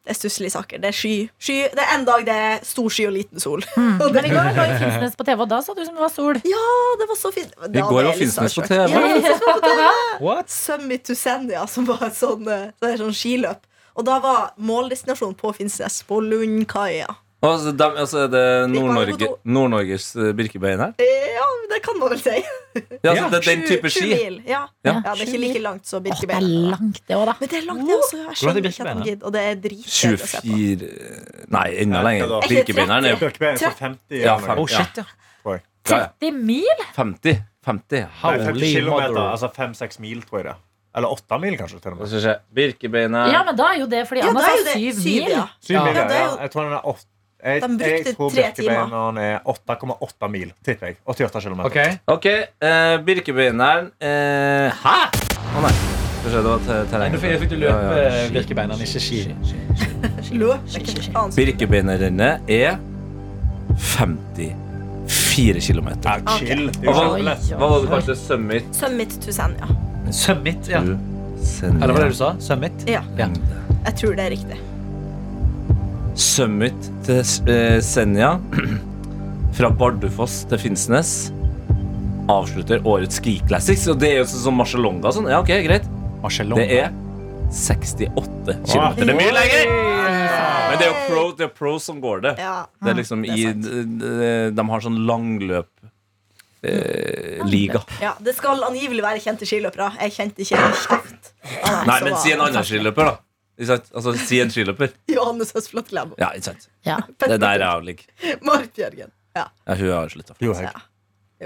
F: Det er stusslige saker. Det er sky. sky. Det er en dag det er stor sky og liten sol. Og det,
B: Men i går var jo Finnsnes på TV, og da så det ut som det var sol.
F: ja, det var så fint. Da
E: I går
F: ble
E: var
F: jeg litt
E: Finnsnes på
F: starstruck.
E: TV.
F: Ja, Finnsnes var på TV.
D: What?
F: Summit to Senja, som var et sånn, eh, det er sånn skiløp. Og da var måldestinasjonen på Finnsnes, på Lundkaia.
E: Altså, dem, altså er det
F: Vi var på
E: Nord-Norge-
F: do.
E: Nord-Norges eh, Birkebein her?
F: Eh, Ja, det kan man vel si.
E: Ja, altså, det er den
F: Sju-
E: type
F: sju
E: ski.
F: mil. Ja.
E: Ja.
F: Ja. det er
B: Sju
F: ikke like langt som
B: Åh, det er
F: Birkebein.
B: langt, det òg, da.
F: Men det er langt, det også.
D: Hvordan er
F: Jeg skjønner ikke at
D: Birkebeina?
F: de gidder. Og det er dritkjedelig å se på.
E: 24 Nei, enda
G: Ja,
E: lenger.
G: da.
E: Birkebeineren er jo
G: Dere er for
E: Ja,
G: 50 sånn eller noe.
D: Oh, shit, ja.
E: ja, ja.
B: 30 mil?
E: 50. 50.
G: Nei, 50
D: Holy
G: kilometer,
D: mother.
G: altså 5-6 mil, tror jeg det. Eller 8 mil, kanskje. til og
E: Hva
G: med
E: skal skje? Birkebeineren
B: Ja, men da er jo det fordi
F: Ja,
B: Anna
F: det
B: sa
F: er jo det.
B: syv
F: Syv,
B: mil.
F: ja.
G: Syv
F: Ja,
G: mil,
F: det er
G: ja.
F: jo-
G: Jeg tror den er åtte. Jeg,
F: De brukte
G: jeg tror
F: tre timer.
G: Birkebeineren er 8,8 mil, tipper jeg. 88 km.
D: Ok.
E: Ok, eh, Birkebeineren eh, Hæ?! Å nei. Skal skje, det var te- terreng.
D: Nå fikk du
E: Ja, ja.
D: løpe Birkebeineren, ikke ski.
F: Løp. Det er ikke faen så-
E: Birkebeinerrennet er 54 km.
G: Ja, chill. Det er jo
E: Hva,
G: kjempelett.
E: hva var det du kalte det? Summit?
F: Summit to Senja.
D: Summit, ja.
E: Senja.
D: Eller hva var det du sa? Summit?
F: Ja, jeg tror det er riktig.
E: Summit til eh, Senja fra Bardufoss til Finnsnes avslutter årets Ski Classics. Og det er jo sånn som Marcialonga og sånn. Ja, ok, greit.
D: Marcellon.
E: Det er 68 km. Det er mye lenger! Men det er jo pro, det er pro som går det.
F: Ja. Mm,
E: Det er liksom i, de, de- de har sånn langløp eh, liga.
F: Ja, det skal angivelig være kjente skiløpere. Jeg kjente ikke en kjeft. av dem
E: Nei,
F: som
E: men
F: var-
E: si en annen skiløper, da. Ikke sant? Altså, si en skiløper.
F: Johannes Høsflot Lem.
E: Ja, ikke sant.
B: Ja.
E: Det er der jeg ligger.
F: Marit Bjørgen. Ja.
E: Ja, hun har slutta.
G: Jo,
F: Ja.
G: jeg-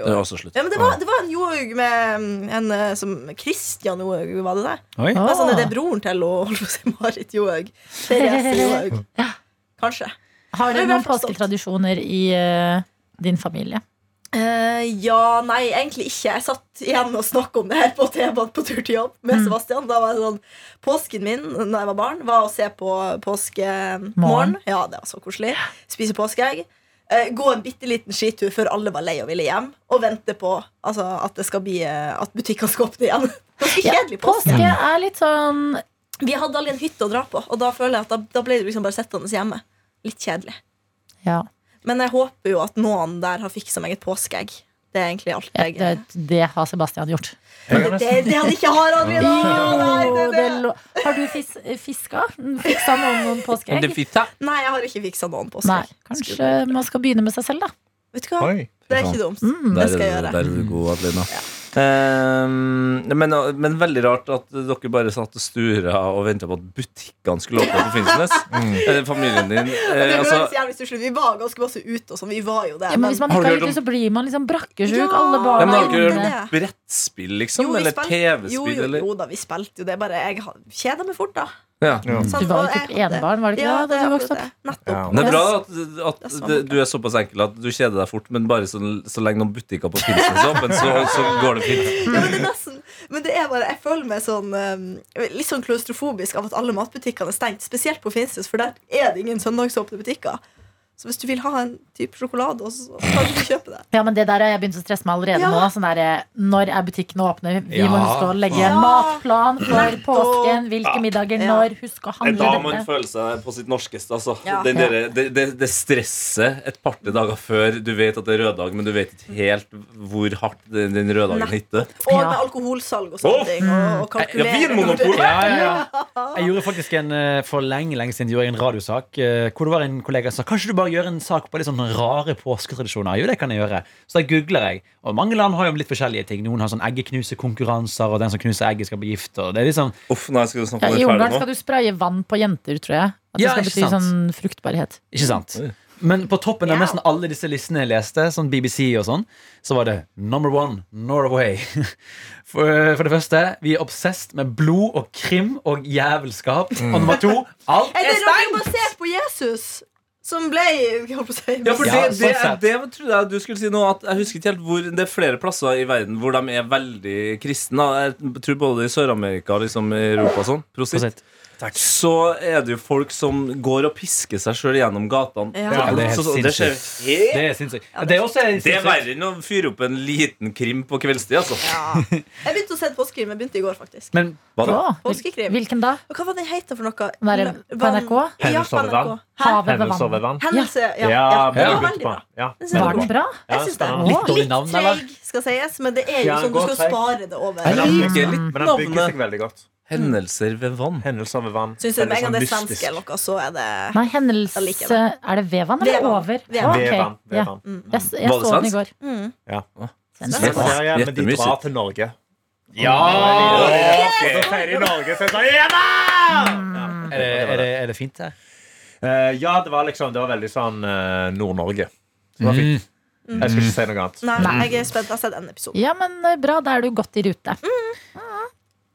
E: Hun har også slutta.
F: Ja, men det var, det var en Johaug med mm, en eh, som Christian Johaug, var det det?
D: Oi.
F: Det var sånn,
B: Ah.
F: er det broren til og, holdt på å si Marit Johaug? Therese Johaug. Kanskje.
B: Har
F: Jeg
B: dere
F: ble
B: noen
F: forstått.
B: påsketradisjoner i eh, din familie?
F: Eh, ja, nei, egentlig ikke. Jeg satt igjen og snakka om det her på T-banen på tur til jobb
B: Mm.
F: med Sebastian. Da var jeg sånn, Påsken min da jeg var barn, var å se på påskemorgen.
B: Morgen.
F: Ja, det var så koselig. Spise påskeegg. Eh, gå en bitte liten skitur før alle var lei og ville hjem, og vente på altså, at, det skal bli, eh, at butikkene skal åpne igjen. Ganske kjedelig påske.
B: Påske er litt sånn
F: Vi hadde aldri en hytte å dra på, og da føler jeg at da, da ble du liksom bare sittende hjemme. Litt kjedelig.
B: Ja,
F: Men jeg håper jo at noen der har fiksa meg et påskeegg. Det er egentlig alt jeg
B: det, det har Sebastian gjort.
F: Men det, det, det hadde ikke har Adrian. Nei, det,
B: Jo,
F: det.
B: det lå- Har du fis, fiska? Fiksa noen noen påskeegg?
F: Nei, jeg har ikke fiksa noen
B: Nei,
F: påskeegg.
B: kanskje man skal begynne med seg selv, da.
F: Vet du hva?
G: Oi.
F: Det er ikke dumt.
E: Der
B: Mm.
F: Det
E: er
F: skal jeg
E: du-
F: gjøre.
E: Der er du god, Adelina. Ehm, men, men veldig rart at dere bare satt og stura og venta på at butikkene skulle åpne på Finnsnes. Eh, Familien din eh,
F: Mm. Det høres
E: altså,
F: jævlig stusslig ut. Vi var ganske masse ute og sånn. Vi var jo det.
B: Ja, men hvis man
E: Har
B: ikke
E: du
B: har
E: hørt
B: gjort det, så blir man liksom brakkesjuk.
F: Ja,
B: Alle
E: ja, men
B: barna
E: Har
B: er
E: dere
B: inne.
F: det er
E: hørt om brettspill, liksom?
F: vi
E: eller
F: spilte- jo,
E: TV-spill,
F: jo,
E: eller Mm.
F: jo da, vi spilte jo det. Bare jeg ha- kjeder meg fort, da.
E: ja.
B: Du var jo typ enebarn, var det ikke det, da du vokste opp?
F: Nettopp.
G: Ja.
E: Det er bra
F: Yes.
E: at, at det- du er såpass enkel at du kjeder deg fort, men bare så, så lenge noen butikker på Finnsnes er åpne, så, så går det fint.
F: Ja, men, det er nesten, men det er bare, jeg føler meg sånn eh, litt sånn klaustrofobisk av at alle matbutikkene er stengt. Spesielt på Finnsnes, for der er det ingen søndagsåpne butikker. Så hvis du vil ha en type sjokolade, også, så kan du kjøpe det.
B: Ja, men det der har jeg begynt å stresse meg allerede
F: Ja.
B: nå. Sånn der, eh, når er butikkene åpne? Vi
D: Ja.
B: må huske å legge en
F: Ja.
B: matplan for påsken. Hvilke
E: Ja.
B: middager
F: Ja.
B: når? Husk å
E: Det er da
B: handle
E: man
B: dette.
E: føler seg på sitt norskeste. Altså.
F: Ja.
E: Den derre- det, det, det stresset et par-tre dager før du vet at det er røddag, men du vet ikke helt hvor hardt den, den røddagen hitter.
F: Og
B: Ja.
F: med alkoholsalg og sånne
E: Åh!
F: ting. Og, og
E: Ja,
F: kalkulere.
E: Vinmonopol!
D: Ja, ja, ja. Jeg gjorde faktisk en eh, for lenge lenge siden gjorde jeg en radiosak eh, hvor det var en kollega som sa kanskje du bare gjør en sak på litt sånn rare påsketradisjoner. Jo, det kan jeg gjøre. Så da googler jeg. Og mange land har jo litt forskjellige ting. Noen har sånn eggeknusekonkurranser, og den som knuser egget, skal bli gift. Og det er liksom
E: Uff, nei, skal du snakke
B: Ja,
E: om
B: I
E: det
B: Ungarn
E: ferdig nå?
B: skal du spraye vann på jenter, tror jeg. At det
D: Ja,
B: skal
D: ikke
B: bety
D: sant.
B: sånn fruktbarhet.
D: Ikke sant? Men på toppen av
F: Ja.
D: nesten alle disse listene jeg leste, sånn BBC og sånn, så var det number one Norway. For, for det første, vi er obsessed med blod og krim og jævelskap. Og nummer to, alt
F: Er
D: er
F: det noe
D: stengt!
F: basert på Jesus? Som ble jeg holdt på å si,
E: Ja, for det,
D: Ja,
E: det,
D: sånn
E: er-
D: sett.
E: det trodde jeg du skulle si nå. At jeg husker ikke helt hvor Det er flere plasser i verden hvor de er veldig kristne. da. Jeg tror både i Sør-Amerika og liksom i Europa og sånn. Prosit.
D: Prosit.
E: Så er det jo folk som går og pisker seg sjøl gjennom gatene.
F: Ja.
D: Ja, det er helt
E: Så- så- det skjer
D: sinnssykt. Det er sinnssykt. Det er også
E: Det er
D: sinnssykt.
E: verre enn å fyre opp en liten krim på kveldstid, altså.
F: Ja. Jeg begynte å se påskekrim. Jeg begynte i går, faktisk.
D: Men
E: Hva da?
B: Å, hvil-
F: Påskekrim.
B: hvilken da?
F: Og hva var den heita for noe?
B: Den der på
F: Vann-
B: NRK?
F: Ja,
G: Hendelse
F: på NRK.
G: over vann.
F: Hæ?
B: Havet ved
G: Hendelse
B: vann.
G: over vann.
F: Hendelse, ja.
G: Ja,
F: ja,
G: men
F: Den var
G: du begynte
F: veldig
G: på.
F: bra.
G: Ja.
F: Den synes jeg
B: Var
F: var
B: den
F: god.
B: bra?
G: Ja,
F: Jeg synes det
G: spennende.
F: var
D: Litt dårlig navn, eller?
F: treig, skal sies, men det er jo
G: Ja,
F: sånn du
G: godt
F: skal
G: treig.
F: spare det over.
E: Men
F: Ja.
E: den bygger litt
G: Men den bygger
E: navnet.
G: seg veldig godt.
E: Hendelser ved vann.
G: Hendelser ved vann.
F: Syns jeg med en gang det
G: Veldig
F: er
G: sånn
F: svensk eller noe, så er det
B: Nei,
F: Da liker jeg
B: hendelse
F: det.
B: Er det Vevan eller
F: Vevan.
B: Over?
F: Vevan.
B: Å, ok.
G: Ved vann. Ved
B: Ja.
G: vann.
B: Jeg, s- jeg
E: Var det
B: så den i
E: svensk?
B: går.
F: mm.
E: Yes.
G: Ja, ja, men de
E: Jettemysigt.
G: drar til Norge.
D: ja!
G: Og så sier de Norge, så er det sånn Ja da! Ja.
D: Er det, er det, er det fint her?
G: Eh, ja, det var liksom Det var veldig sånn eh, Nord-Norge. Så det var fint.
F: Mm.
G: Jeg skal ikke si noe annet.
F: Nei, jeg er spent. Jeg har sett en episode.
B: Ja, men eh, bra, da er du godt i rute.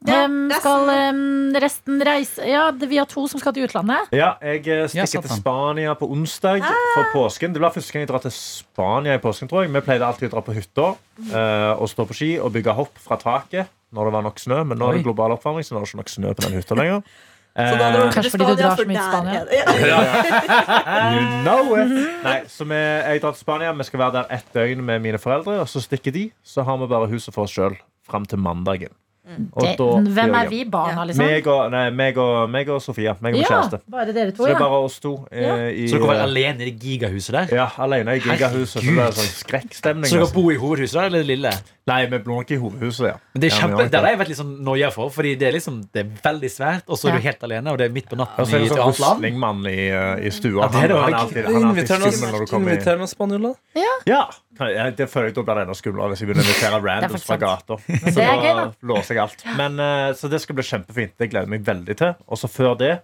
F: Ja,
B: Em,
F: resten-
B: skal em, resten reise Ja, det- vi har to som skal til utlandet.
G: Ja, jeg eh,
D: Ja,
G: stikker
D: satan.
G: til Spania på onsdag
F: Ah!
G: for påsken. Det blir første gang jeg drar til Spania i påsken, tror jeg. Vi pleide alltid å dra på hytta eh, og stå på ski og bygge hopp fra taket når det var nok snø, men nå er
D: Oi.
G: det global oppvarming, så nå er det ikke nok snø på den hytta lenger.
F: Så da drar
G: Eh,
F: dere til
B: Kanskje fordi du
F: Spania,
B: drar så
F: for
B: mye til
F: der
B: Spania.
F: er det- Ja.
G: you know it!
B: Mhm.
G: Nei, så vi, jeg drar til Spania. Vi skal være der ett døgn med mine foreldre, og så stikker de. Så har vi bare huset for oss sjøl fram til mandagen. Og
B: Mm. Det,
G: da flyr
B: hvem er
G: jeg hjem.
B: vi barna, liksom?
G: Meg og, nei, meg og, meg og Sofia. Meg og min
B: ja,
G: kjæreste.
B: bare dere to,
G: Så det
B: ja.
G: er bare oss to. eh, i,
D: Så dere var alene i det gigahuset der?
G: ja, alene i gigahuset. Så det er sånn skrekkstemning.
D: Så dere
G: nesten.
D: bor i hovedhuset der, eller det lille?
G: Nei, vi bor nok i hovedhuset, ja.
D: Men det er
G: Ja, vi
D: kjempe,
G: gjør nok
D: der
G: det.
D: har jeg vært litt sånn noia for, Fordi det er liksom, det er veldig svært, og så er
B: Ja.
D: du helt alene, og det er midt på
G: Og
D: natten
G: så er
D: i
G: det
D: et
G: sånn
D: annet land.
G: Roslingmann i, eh, i stua.
D: Ja, det er det
G: han, han er
D: også.
G: alltid, han er
E: Inviter
G: alltid
E: noen
G: skummel når du kommer inn.
E: inviter noen spanjoler.
G: Ja, kan jeg, det føler jeg da blir det enda skumlere hvis jeg begynner å invitere randoms
B: faktisk
G: fra
B: sant.
G: gata. Så
B: Det er gøy, da.
G: låser jeg alt. Men, eh, så det skal bli kjempefint. Det gleder jeg meg veldig til. Og så før det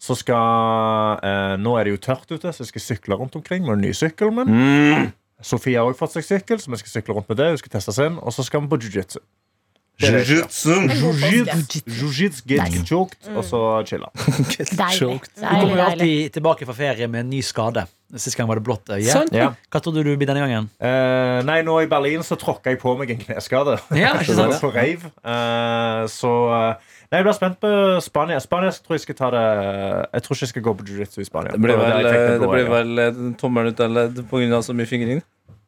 G: så skal eh, Nå er det jo tørt ute, så jeg skal sykle rundt omkring med den nye sykkelen min.
B: Mm.
G: Sofie har også fått seg sykkel, så vi skal sykle rundt med det. Hun skal teste seg inn, Og så skal vi på jiu-jitsu.
E: Jujutsun.
G: Jiu-jitsu, get
B: Nice. Mm.
G: choked, og så chille.
B: Deilig.
D: Du
B: deilig,
D: kommer jo
B: deilig.
D: alltid tilbake fra ferie med en ny skade. Sist gang var det blått øye.
B: Sånn.
E: Sant.
G: Ja.
D: Hva trodde du blir denne gangen?
G: Eh, nei, nå i Berlin så tråkka jeg på meg en kneskade.
D: Ja, ikke sant?
G: på reiv. Eh, så eh, Nei, jeg blir spent på Spania. Spania så tror jeg skal ta det Jeg tror ikke jeg skal gå på jiu-jitsu i Spania.
E: Det blir
G: var der
E: vel,
G: jeg
E: eh,
G: fikk den
E: det
G: blå
E: blir
G: øya.
E: vel eh, tommelen ut eller på grunn av så mye fingring.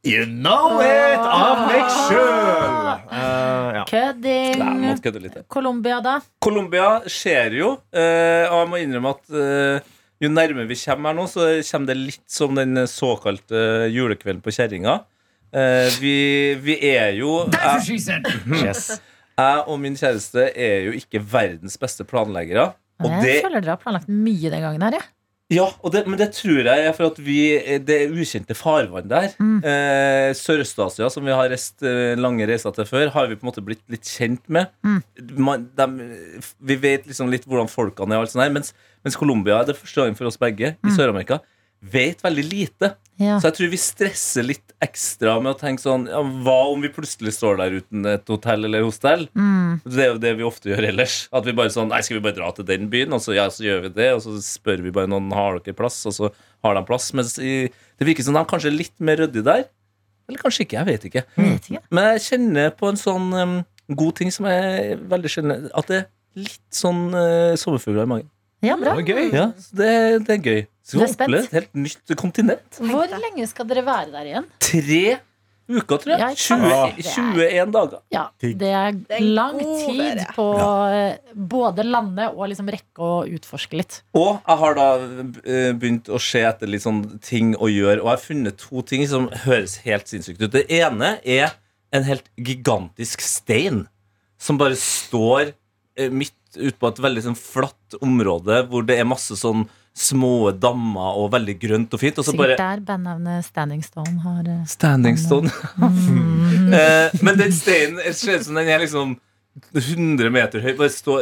G: You know it! Av meg
E: Ah.
G: sjøl! Eh,
E: Nei,
G: ja.
E: jeg
B: Kødding.
E: måtte kødde litt.
B: Colombia, da?
E: Colombia skjer jo, eh, og jeg må innrømme at eh, jo nærmere vi kommer her nå, så kommer det litt som den såkalte eh, julekvelden på kjerringa. Eh, vi, vi er jo jeg,
G: Mm.
D: Yes.
E: jeg og min kjæreste er jo ikke verdens beste planleggere. Og det,
B: Jeg føler dere har planlagt mye den gangen her, jeg.
E: ja, og det, men det tror jeg er for at vi, det er ukjente farvann der.
B: Mm.
E: Eh, Sørøst-Asia, som vi har reist eh, lange reiser til før, har vi på en måte blitt litt kjent med.
B: Mm.
E: Man, dem,
B: Mm.
E: vi vet liksom litt hvordan folkene er, og alt sånt her, mens, mens Colombia er det første gangen for oss begge i Sør-Amerika. vet veldig lite.
B: Ja.
E: Så jeg tror vi stresser litt ekstra med å tenke sånn ja, Hva om vi plutselig står der uten et hotell eller hostell?
B: Mm.
E: Det er jo det vi ofte gjør ellers. At vi bare sånn Nei, skal vi bare dra til den byen? Og så, ja, så gjør vi det, og så spør vi bare noen har dere plass, og så har de plass. Mens i, det virker som de kanskje er litt mer ryddig der. Eller kanskje ikke. Jeg vet ikke.
G: Mm.
B: Vet ikke.
E: Men jeg kjenner på en sånn um, god ting som er veldig sjelden At det er litt sånn uh, sommerfugler i magen.
B: Ja, bra.
D: Det var gøy.
E: Ja, så det, det er gøy. Så
B: Mm. Du
E: vi
B: er spent?
E: oppleve et helt nytt kontinent.
B: Hvor lenge skal dere være der igjen?
E: Tre uker, tror
B: Ja,
E: jeg.
B: ikke sant?
E: 20,
B: Det er-
E: 21 dager.
B: Ja,
G: Digg.
B: det er
F: er en
B: lang
F: god
B: tid
F: ferie.
B: på eh, både lande og liksom rekke å utforske litt.
E: Og jeg har da eh, begynt å se etter litt sånn ting å gjøre, og jeg har funnet to ting som høres helt sinnssykt ut. Det ene er en helt gigantisk stein som bare står eh, midt ute på et veldig sånn flatt område hvor det er masse sånn små dammer og veldig grønt og fint, og så
B: Sikkert
E: bare
B: der bandnavnet Standing Stone har eh,
E: Standing stone. Eh, men den steinen det ser ut som den er liksom 100 meter høy. Bare, stå,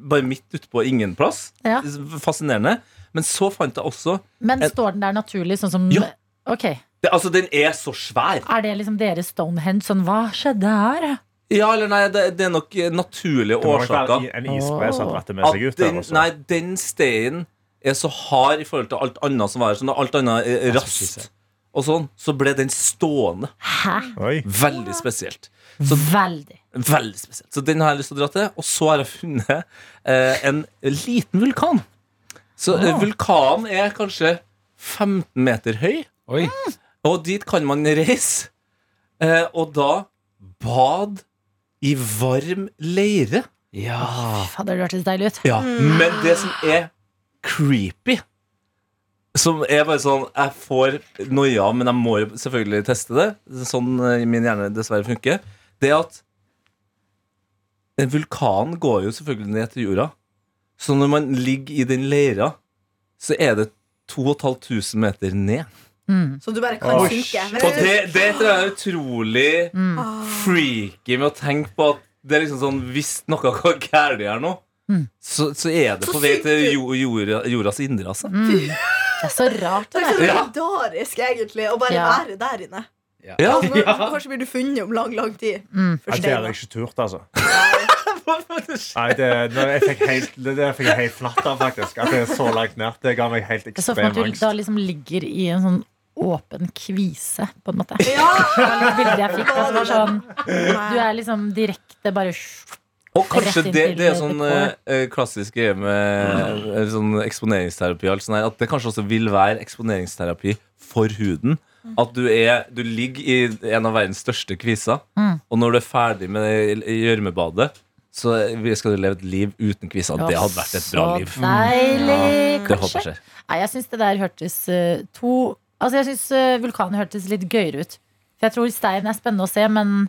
E: bare midt ute på ingen plass.
B: Ja.
E: Fascinerende. Men så fant jeg også
B: Men
E: Eh,
B: står den der naturlig, sånn som
E: Ja.
B: Ok. Er
E: det, Altså, den er så svær.
B: det liksom deres Stonehenge? Sånn, hva skjedde her?
E: Ja eller nei, det, det er nok eh, naturlige
G: Det må nok være
E: årsaker.
G: i- en isbre som dratte med
E: At
G: seg ut der.
E: den,
G: altså.
E: nei, den steinen er så hard i forhold til alt annet som var her. Sånn, alt annet eh, rast og sånn. Så ble den stående.
B: Hæ?
G: Oi.
E: Veldig spesielt.
B: Veldig.
E: Veldig spesielt. Så den har jeg lyst til å dra til. Og så har jeg funnet eh, en liten vulkan. Så eh, vulkanen er kanskje 15 meter høy,
D: Oi.
E: og dit kan man reise. Eh, og da bad i varm leire. Ja.
B: Fader, det hørtes deilig ut.
E: ja. Men det som er creepy som er bare sånn Jeg får noia, men jeg må jo selvfølgelig teste det. Sånn eh, min hjerne dessverre funker. Det at en vulkan går jo selvfølgelig ned til jorda. Så når man ligger i den leira, så er det 2500 meter ned.
F: Så du bare kan
G: Oi,
F: synke. Men
E: Og det, det tror jeg er utrolig
B: Mm.
E: freaky med å tenke på at det er liksom sånn Hvis noe går gærent her nå,
B: Mm.
E: så, så er det
F: Så
E: på vei til
F: sykt.
E: jo, jorda, jordas indre, altså.
B: Mm. Det er så rart.
F: det
B: Det
F: er så
B: der.
F: legendarisk, egentlig, å bare
B: Ja.
F: være der inne.
E: Ja.
F: Altså, nå- Kanskje blir du funnet om lang, lang tid.
B: Mm.
G: Nei, det hadde
F: Forsteina.
G: jeg ikke turt, altså. Nei, det, nå, jeg fikk helt, det, det fikk jeg helt fnatt av, faktisk. At det er så langt ned. Det ga meg helt
B: Jeg så for meg
G: ekstrem
B: at du
G: angst.
B: da liksom ligger i en sånn åpen kvise, på en måte. Det
F: Ja!
B: var litt bildet jeg fikk. At det var sånn, du
F: Nei.
B: er liksom direkte bare
E: Og kanskje
B: Rett inn
E: det,
B: til Mm.
E: det er
B: the
E: sånn
B: core.
E: eh, klassisk greie med eh, sånn eksponeringsterapi og alt sånt her, at det kanskje også vil være eksponeringsterapi for huden.
B: Mm.
E: At du, er, du ligger i en av verdens største kviser,
B: Mm.
E: og når du er ferdig med det i- i gjørmebadet, så skal du leve et liv uten kviser. Det hadde vært et bra liv.
B: Så deilig,
E: Det håper
B: kanskje.
E: jeg skjer.
B: Nei, jeg syns det der hørtes eh, to Altså, jeg syns eh, vulkanen hørtes litt gøyere ut. For jeg tror steinen er spennende å se, men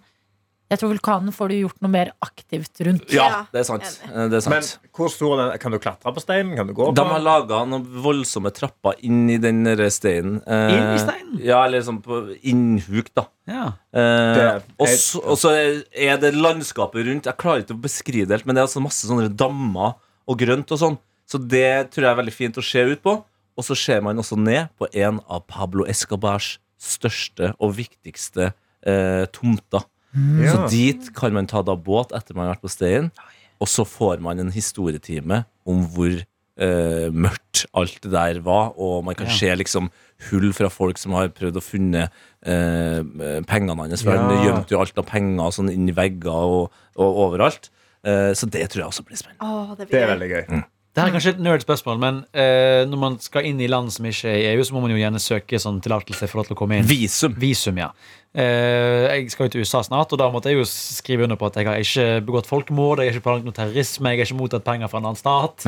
B: jeg tror vulkanen får du gjort noe mer aktivt rundt.
E: Ja,
F: Ja,
E: det er sant. Eh, Det er
G: Men
E: sant.
G: hvor stor er den? Kan du klatre på steinen? Kan du gå på
E: de har laga noen voldsomme trapper inn i den der steinen. Eh,
D: Inn i steinen?
E: Ja, eller sånn på innhukt, da.
D: Ja.
E: Eh,
G: Det-
E: og så- og så er det landskapet rundt. Jeg klarer ikke å beskrive det helt, men det er altså masse sånne dammer og grønt og sånn. Så det tror jeg er veldig fint å se ut på. Og så ser man også ned på en av Pablo Escobars største og viktigste eh, tomter.
G: Ja.
E: Så dit kan man ta da båt etter man har vært på steinen, og så får man en historietime om hvor eh, mørkt alt det der var, og man kan se liksom hull fra folk som har prøvd å funne eh, pengene hans, for
G: Ja.
E: han gjemte jo alt av penger og sånn inn i vegger og, og overalt. Eh, så det tror jeg også blir spennende.
F: Å, det
G: Det
F: blir
G: er
F: gøy.
G: veldig gøy.
E: Mm.
D: Det her er kanskje et nerdspørsmål, men eh, når man skal inn i land som ikke er i EU, så må man jo gjerne søke sånn tillatelse for lov til å komme inn.
E: Visum.
D: Visum, ja. Eh, jeg skal jo til USA snart, og da måtte jeg jo skrive under på at jeg har ikke begått folkemord, jeg har ikke planlagt noe terrorisme, jeg har ikke mottatt penger fra en annen stat.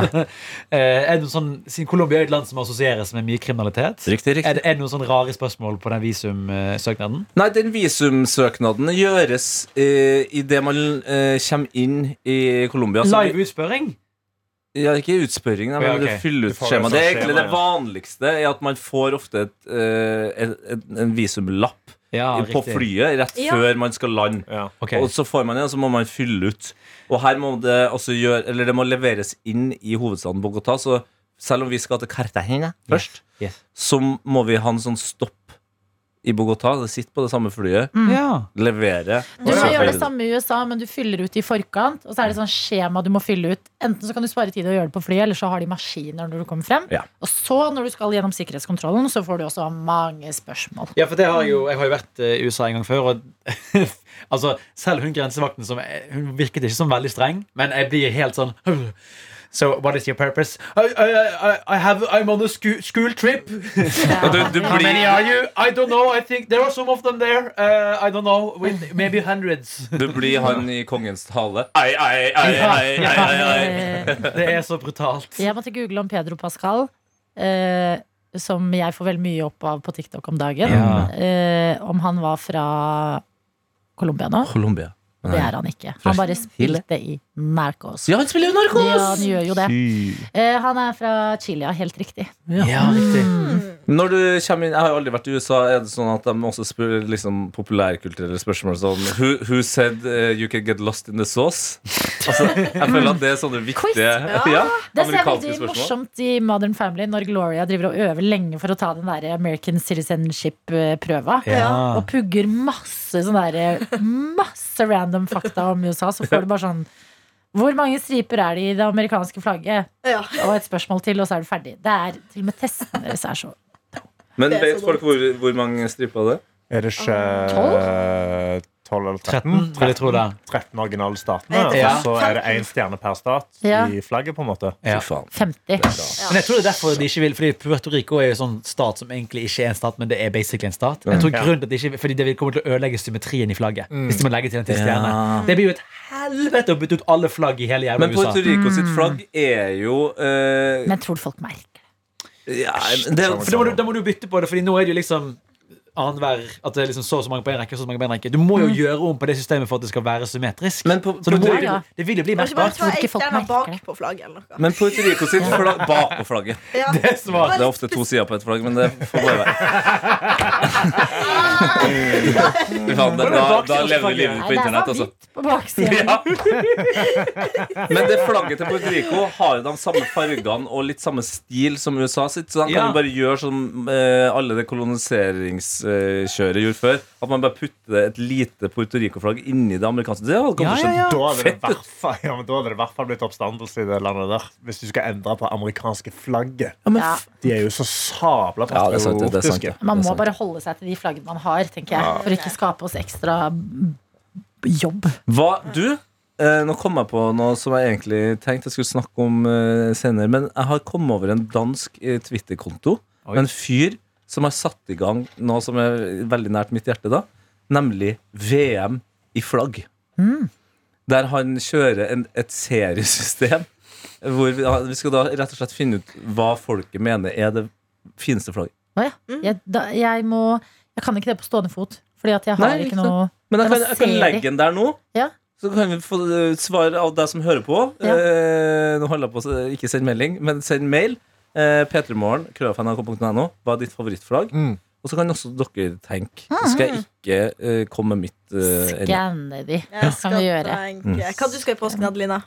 D: Eh, er det noen sånn, Siden Colombia er et land som assosieres med mye kriminalitet,
E: Riktig, riktig.
D: er det, er det noen sånn rare spørsmål på den eh, visumsøknaden?
E: Nei, den visumsøknaden gjøres eh, idet man eh, kommer inn i Colombia. Så vi-
D: Live utspørring?
E: Ja, ikke utspørring, nei, men
D: Ja, ok.
E: du fyller
G: Du
E: ut
G: får
E: skjema.
G: et
E: Det er
G: sånt
E: egentlig
G: skjema,
E: det vanligste, er at man får ofte et, eh, en- en- en visumlapp
D: Ja,
E: på flyet rett
F: Ja.
E: før man skal lande.
G: Ja.
D: Ok.
E: Og så får man det, og så må man fylle ut. Og her må det også gjøre Eller det må leveres inn i hovedstaden Bogotá, så selv om vi skal til Cartagena først,
D: Yes.
E: så må vi ha en sånn stopp i Bogotá. Sitte på det samme flyet,
D: Ja.
E: levere.
B: Mm. Du må
E: og så
B: gjøre det
E: ferdig.
B: samme i USA, men du fyller ut i forkant. Og så er det sånn skjema du må fylle ut. Enten så kan du spare tid og gjøre det på flyet, eller så har de maskiner når du kommer frem.
C: Ja.
B: Og så, når du skal gjennom sikkerhetskontrollen, så får du også mange spørsmål.
D: Ja, for det har jeg jo Jeg har jo vært eh, i USA en gang før, og altså, selv hun grensevakten som eh, Hun virket ikke som veldig streng, men jeg blir helt sånn So what is your purpose? I, I, I, I have, I'm on a scho school trip.
E: du, du
D: How
E: blir,
D: many are you? I don't know. I think there are some of them there. Uh, I don't know. With maybe hundreds.
E: du blir han i kongens tale. Ai, ai, ai, ai, ai, ai, ai.
B: Eh,
D: Det er så brutalt.
B: Jeg måtte google om Pedro Pascal, eh, som jeg får veldig mye opp av på TikTok om dagen.
D: Ja.
B: Eh, om han var fra Colombia nå.
E: Colombia.
B: Det er han ikke. Han bare spilte i Narcos.
C: Ja, han spiller jo
B: Ja, han gjør jo det.
G: Fy.
B: Eh, han er fra Chile, ja. Helt riktig.
D: Ja, riktig.
E: Når du kommer inn, Jeg har jo aldri vært i USA. Er det sånn at de også spør liksom, populærkulturelle spørsmål som Who, who said eh, you can get lost in the sauce? Altså, Jeg føler at det er sånne
B: Quiz,
E: viktige
F: ja.
E: ja,
B: Det som er
E: amerikanske
B: veldig
E: spørsmål.
B: morsomt i Modern Family når Gloria driver og øver lenge for å ta den der American citizenship-prøva.
D: Ja.
B: Og pugger masse sånn der Masse random fakta om USA. Så får du bare sånn Hvor mange striper er det i det amerikanske flagget?
F: Ja.
B: Og et spørsmål til, og så er du ferdig. Det er til og med testene deres er så
E: Men
F: Det er så
E: vet folk hvor, hvor mange striper det?
G: Er det ikke
B: Tolv?
G: eh, 12 eller 13?
D: 13, vil jeg tro det.
G: 13 originale statene.
F: Jeg
G: Og
F: vet
D: ikke.
G: så er det én stjerne per stat
B: Ja.
G: i flagget, på en måte.
D: Ja.
E: Fy faen.
B: 50.
D: Men jeg tror det er derfor de ikke vil Fordi Puerto Rico er jo en sånn stat som egentlig ikke er en stat, men det er basically en stat. Jeg tror
G: Ja.
D: grunnen til at de ikke Fordi det vil komme til å ødelegge symmetrien i flagget. Hvis de må legge til en til stjerne. Det blir jo et helvete å bytte ut alle flagg i hele jævla
E: Men
D: USA.
E: Puerto Rico sitt flagg er jo eh,
B: Mm. Men tror du folk merker det?
E: ja, men det,
D: For da må, du, da må du bytte på det, Fordi nå er det jo liksom annenhver At det er liksom så og så mange på en rekke. Så og så mange på en rekke Du må jo gjøre om på det systemet for at det skal være symmetrisk.
E: Men på-
D: så det, må,
E: på-
D: jo-
B: Ja, ja.
D: det vil jo bli
F: Kan ikke bare
D: merkbart.
F: ta
B: Tror ikke
F: ei
B: folk
F: stjerne
B: merker
F: bak
B: det.
F: på flagget eller noe.
E: men Puerto Rico sitt flagg bak på flagget.
F: Ja.
D: Det er smart.
E: Det er ofte to sider på et flagg, men det får bare
B: Ah.
E: være. Fy faen, da, da, da lever vi livet
B: Nei,
E: på
B: det er
E: internett, altså.
B: favoritt på baksiden.
E: Ja. Men det flagget til Puerto Rico har jo de samme fargene og litt samme stil som USA sitt, så de kan
D: Ja.
E: jo bare gjøre som eh, alle det koloniseringskjøret gjorde før. At man bare putter et lite Puerto Rico-flagg inni det amerikanske. Det hadde
D: Ja,
E: kanskje
D: ja, ja.
G: Da hadde, det i hvert fall, ja, men da hadde det i hvert fall blitt oppstandelse i det landet der. Hvis du skal endre på amerikanske flagget.
B: Ja.
G: De er jo så sabla
E: Ja, det er sant, det, det er sant,
G: patriotiske.
E: det.
B: Man
E: Det er
B: må
E: sant.
B: bare holde seg til de flaggene man har, tenker jeg. For å ikke skape oss ekstra mm, jobb.
E: Hva, du, eh, nå kom jeg på noe som jeg egentlig tenkte jeg skulle snakke om eh, senere, men jeg har kommet over en dansk eh, Twitter-konto.
D: Oi.
E: En fyr som har satt i gang noe som er veldig nært mitt hjerte, da, nemlig VM i flagg. Der han kjører en, et seriesystem hvor vi, ja, vi skal da rett og slett finne ut hva folket mener er det fineste flagget.
B: Å ja.
E: Mm.
B: jeg, da, jeg må Jeg kan ikke det på stående fot. Fordi at jeg har
E: Nei,
B: ikke
E: ikke
B: noe
E: Men
B: Det var
E: jeg kan, jeg kan
B: serie.
E: legge den der nå.
B: Ja.
E: Så kan vi få eh, svar av deg som hører på.
B: Ja.
E: Eh, nå holder jeg på å s- ikke sende melding, men send mail. Eh, P3morgen, krøllfnrk.no. Hva er ditt favorittfavorittsflagg?
G: Mm.
E: Og så kan også dere tenke.
B: Mm.
E: Så skal jeg ikke eh, komme med mitt eh, ennå.
B: Skanne de.
F: Jeg
B: Det kan vi
F: skal
B: gjøre.
F: tenke. Hva du skal i påsken, Adelina?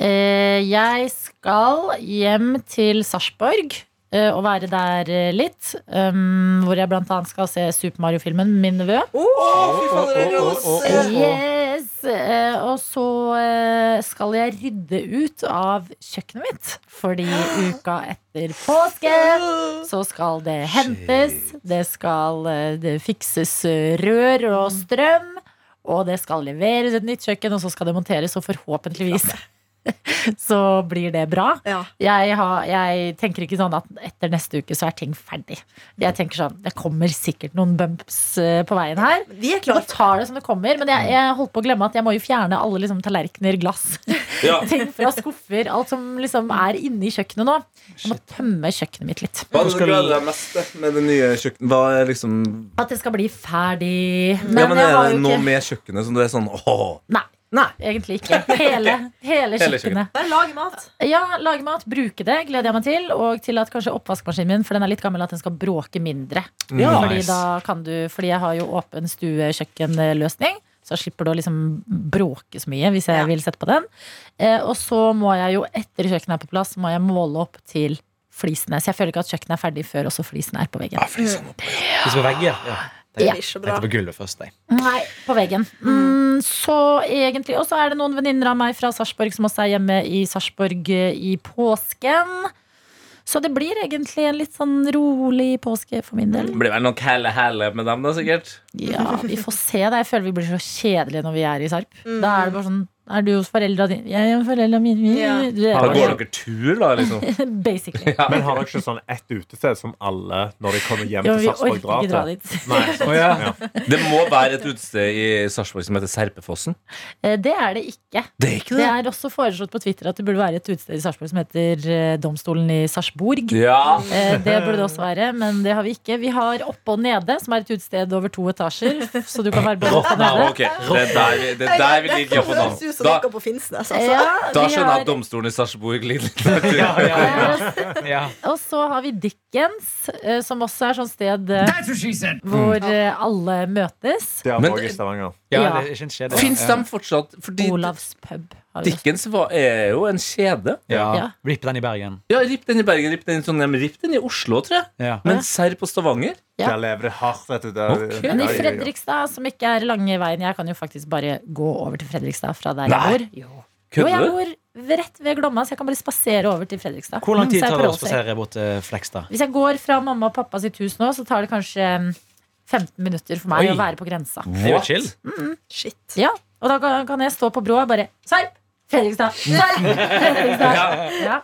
B: Eh, jeg skal hjem til Sarpsborg eh, og være der eh, litt. Um, hvor jeg blant annet skal se Super Mario-filmen Min nevø.
F: Å, fy fader, det er rose!
B: Yes! Eh, og så eh, skal jeg rydde ut av kjøkkenet mitt. Fordi uka etter påske så skal det hentes. Det skal eh, det fikses eh, rør og
F: Mm.
B: strøm. Og det skal leveres et nytt kjøkken, og så skal det monteres. Og forhåpentligvis så blir det bra.
F: Ja.
B: Jeg, har, jeg tenker ikke sånn at etter neste uke så er ting ferdig. Jeg tenker sånn, Det kommer sikkert noen bumps eh, på veien her.
F: Vi er
B: Jeg bare
F: klare.
B: tar det som det kommer, men jeg, jeg holdt på å glemme at jeg må jo fjerne alle liksom, tallerkener, glass,
E: Ja.
B: ting fra skuffer, alt som liksom er inne i kjøkkenet nå. Jeg må tømme kjøkkenet mitt litt.
E: Hva er det du gleder deg mest til med det nye kjøkkenet? Hva er liksom
B: At det skal bli ferdig.
E: ja, men
B: jeg
E: Er
B: har
E: det
B: jo
E: noe
B: ikke
E: med kjøkkenet som du er sånn åh
B: Nei. Egentlig ikke. Hele, hele
E: Hele
B: kjøkkenet.
F: Bare lag mat.
B: Ja, Lage mat, bruke det, gleder jeg meg til. Og til at kanskje oppvaskmaskinen min, for den er litt gammel, at den skal bråke mindre.
D: Mm. Ja.
B: Fordi,
D: Nice.
B: da kan du, fordi jeg har jo åpen stuekjøkkenløsning. Så jeg slipper du å liksom bråke så mye hvis jeg
F: Ja.
B: vil sette på den. Eh, og så må jeg jo, etter kjøkkenet er på plass, må jeg måle opp til flisene. Så jeg føler ikke at kjøkkenet er ferdig før også flisene er på veggen.
D: Hvis vi vegger. Ja.
F: Det blir så bra.
D: Tenkte på gulvet først, jeg.
B: Nei, på veggen. Mm, så egentlig Og så er det noen venninner av meg fra Sarpsborg som også er hjemme i Sarpsborg eh, i påsken. Så det blir egentlig en litt sånn rolig påske for min del.
E: Det blir vel noen kæle-hæle med dem, da, sikkert.
B: Ja, vi får se det. Jeg føler vi blir så kjedelige når vi er i Sarp. Da er det bare sånn Er du hos foreldra dine? Jeg er hos foreldra mine. Vi-
F: Ja.
B: det er
E: Da
B: bare
E: går dere tur, da, liksom.
B: sånn, Basically.
G: Men har dere ikke sånn ett utested som alle når de kommer hjem
B: Jo,
G: til
B: vi
G: Sarpsborg,
B: orker ikke dra
G: drar til?
B: dit.
G: Nei. Ja.
E: Det må være et utested i Sarpsborg som heter Serpefossen.
B: Eh, Det er det ikke.
E: Det er ikke
B: Det er også foreslått på Twitter at det burde være et utested i Sarpsborg som heter eh, Domstolen i Sarpsborg.
E: Ja.
B: Eh, Det burde det også være, men det har vi ikke. Vi har Oppe og Nede, som er et utested over to etasjer. Så du kan være både oppe og
E: Nei,
B: nede.
E: ok. Det er der vi, det er der vi ligger på
F: Det høres ut som
E: navn.
F: noe på Finnsnes, altså.
B: Ja,
E: Da, da
B: vi
E: skjønner jeg
B: har-
E: at domstolen i Sarpsborg ligger litt lenger
D: Ja, ja, ja.
B: Eh,
D: Ja.
B: Og så har vi Dickens, eh, som også er sånn sted eh, hvor eh, alle møtes.
G: Det har
E: Men-
G: vi også i Stavanger.
D: ja,
B: Ja.
D: det er ikke en kjede.
E: Fins
D: ja.
E: de fortsatt? Fordi
B: Olavs pub. Har vi.
E: Dickens var, er jo en kjede.
D: Ja.
B: Ja.
D: Ripp den i Bergen.
E: Ja, Ripp den i Bergen, ripp den i Trondheim, ripp den i Oslo, tror jeg.
D: Ja.
E: Men serr på Stavanger?
B: Ja.
G: Der lever det hardt, vet du. Der,
E: Ok.
B: Men i
G: Ja, ja, ja.
B: Fredrikstad, som ikke er lange veien Jeg kan jo faktisk bare gå over til Fredrikstad fra der jeg
E: Nei.
B: bor. Jo. Jo, jeg
E: Kødder du?
B: bor rett ved Glomma, så jeg kan bare spasere over til Fredrikstad. Mm,
D: Hvor lang tid
B: Så jeg
D: tar
B: er på
D: det å
B: Råsøy.
D: spasere bort til Flekstad?
B: Hvis jeg går fra mamma og pappa sitt hus nå, så tar det kanskje mm, 15 minutter for meg
D: Oi.
B: å være på grensa.
D: Det er jo chill.
F: Shit.
B: Ja, Og da kan- kan jeg stå på brå og bare Sarp! Fredrikstad! Sarp! Fredrikstad! Ja.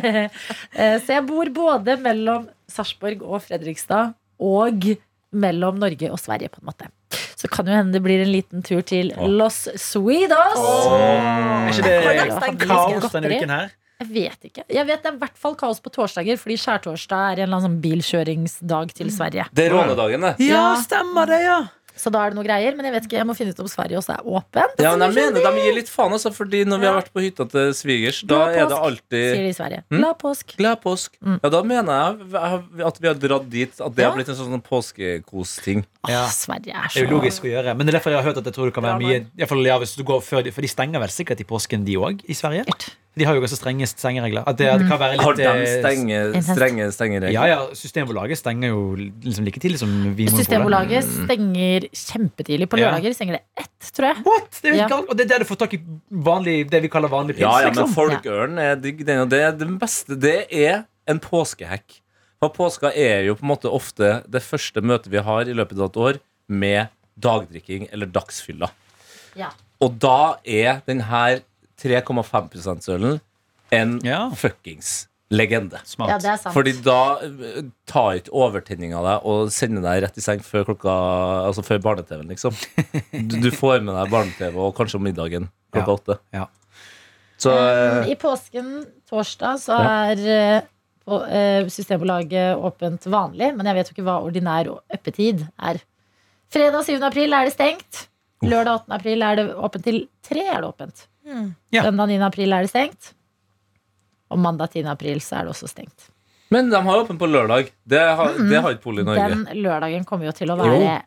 B: Eh, så jeg bor både mellom Sarpsborg og Fredrikstad og mellom Norge og Sverige, på en måte. Så kan jo hende det blir en liten tur til Los Suidos.
D: Er ikke
F: Hvordan
D: det
F: stenger
D: kaos denne
B: godteri?
D: uken her?
B: Jeg vet ikke. Jeg vet Det er i hvert fall kaos på torsdager, fordi skjærtorsdag er en eller annen sånn bilkjøringsdag til Sverige.
E: Det er rånedagen, det.
B: Ja,
D: stemmer det, ja.
B: Så da er det noe greier, men jeg vet ikke, jeg må finne ut om Sverige også er åpent. Altså,
E: Ja, men jeg mener de gir litt faen, altså. Fordi når vi har vært på hytta til svigers, da
B: Glad
E: er
B: påsk,
E: det
B: Sier
E: alltid
B: de i Sverige.
E: Mm.
B: Glad påsk.
E: Glad påsk. Ja, da mener jeg at vi har dratt dit at det
B: Ja.
E: har blitt en sånn påskekos-ting.
D: Ja.
B: Åh, Sverige er
D: Det
B: så
D: er jo logisk å gjøre. Men det er derfor jeg har hørt at jeg tror det kan være mye i hvert fall, ja, hvis du går før de, For de stenger vel sikkert i påsken, de òg, i Sverige? De har jo også strenge stengeregler. At det, det kan være litt
E: Mm. Har de
D: eh,
E: strenge, strenge, strenge
D: Ja,
E: regler?
D: ja, Systembolaget stenger jo liksom like tidlig som Vinmonopolet.
B: Systembolaget
E: Mm.
B: stenger kjempetidlig på
D: Ja.
B: lørdager. Stenger det ett, tror jeg.
D: What? Det er jo
B: Ja.
D: helt galt. Og det er der du får tak i vanlig, det vi kaller vanlig pils.
E: Ja, ja, men
D: liksom.
E: folkeørn er digg, den, og det er den beste. Det er en påskehekk. For påska er jo på en måte ofte det første møtet vi har i løpet av et år med dagdrikking eller dagsfylla.
B: Ja.
E: Og da er den her 3,5 %-ølen en
D: Ja.
E: fuckings legende.
D: Smart.
B: Ja, det er sant.
E: Fordi da eh, tar ikke overtenninga deg og sender deg rett i seng før klokka Altså før barne-TV-en, liksom. Du, du får med deg barne-TV og kanskje om middagen klokka
D: Ja.
E: åtte.
D: Ja.
E: Så eh,
B: I påsken torsdag så er eh, på, eh, Systembolaget åpent vanlig, men jeg vet jo ikke hva ordinær øppetid er. Fredag 7. april er det stengt. Lørdag 8. april er det åpent til tre. er det åpent.
D: Ja.
B: Søndag 9. april er det stengt. Og mandag 10. april så er det også stengt.
E: Men de har åpen på lørdag. Det har, det har ikke Pol i Norge.
B: Den lørdagen kommer jo til å være
E: Har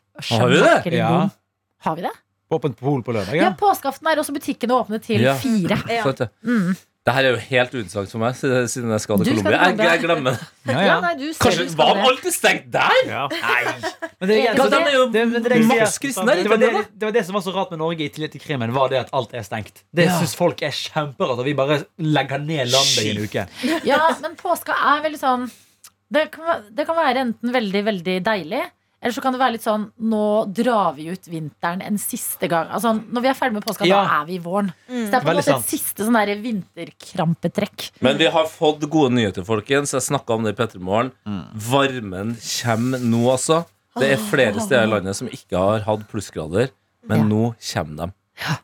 E: vi det?
B: sjakkelig
D: Ja.
B: god. Har vi det?
D: Åpent pol på lørdag,
B: Ja,
D: ja.
B: påskeaften er også butikkene åpne til
E: Ja.
B: fire. Mm.
F: Ja.
E: Så at det- Det her er jo helt uinteressant for meg, siden siden jeg skal
B: Du
E: til
B: skal
E: Colombia.
B: til
E: Jeg,
B: Colombia.
E: jeg glemmer det.
B: Ja,
D: ja, ja.
B: nei, du ser
E: Kanskje
B: du skal
E: var
B: det.
E: alltid stengt der?!
G: Ja.
D: Men det,
B: Ja,
D: er-
B: det-
E: er jo
D: det, men det, er det, jeg sier.
E: makskrisen her,
D: det, var det,
E: ikke sant,
D: det var det som var så rart med Norge i tillegg til krimen, var det at alt er stengt. Det synes folk er kjemperart. At vi bare legger ned landet i en uke.
B: Ja, men påska er veldig sånn det kan, væ- det kan være enten veldig, veldig deilig, eller så kan det være litt sånn Nå drar vi ut vinteren en siste gang. Altså, når vi er ferdig med påska, da
D: Ja.
B: er vi i våren. Så det er på en
D: Veldig
B: måte
D: sant.
B: et siste sånn der vinterkrampetrekk.
E: Men vi har fått gode nyheter, folkens. Jeg snakka om det i Pettermorgen. Varmen kommer nå, altså. Det er flere steder i landet som ikke har hatt plussgrader, men
B: Ja.
E: nå kommer de.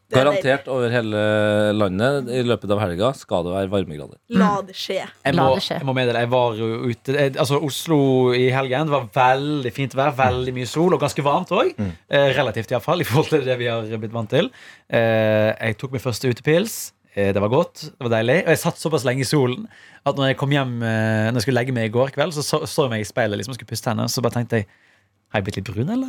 F: Det er
E: Garantert over hele landet i løpet av helga skal det være varmegrader.
F: La det skje.
D: Jeg
B: La
D: må,
B: det skje.
D: jeg må meddele, jeg var jo ute jeg, Altså Oslo i helgen det var veldig fint vær, veldig mye sol og ganske varmt òg. Eh, relativt, iallfall, i forhold til det vi har blitt vant til. Eh, jeg tok min første utepils. Eh, det var godt, det var deilig. Og jeg satt såpass lenge i solen at når jeg kom hjem eh, Når jeg skulle legge meg i går kveld, så så, så jeg meg i speilet liksom, og skulle pusse tennene. Så bare tenkte jeg Har jeg blitt litt brun, eller?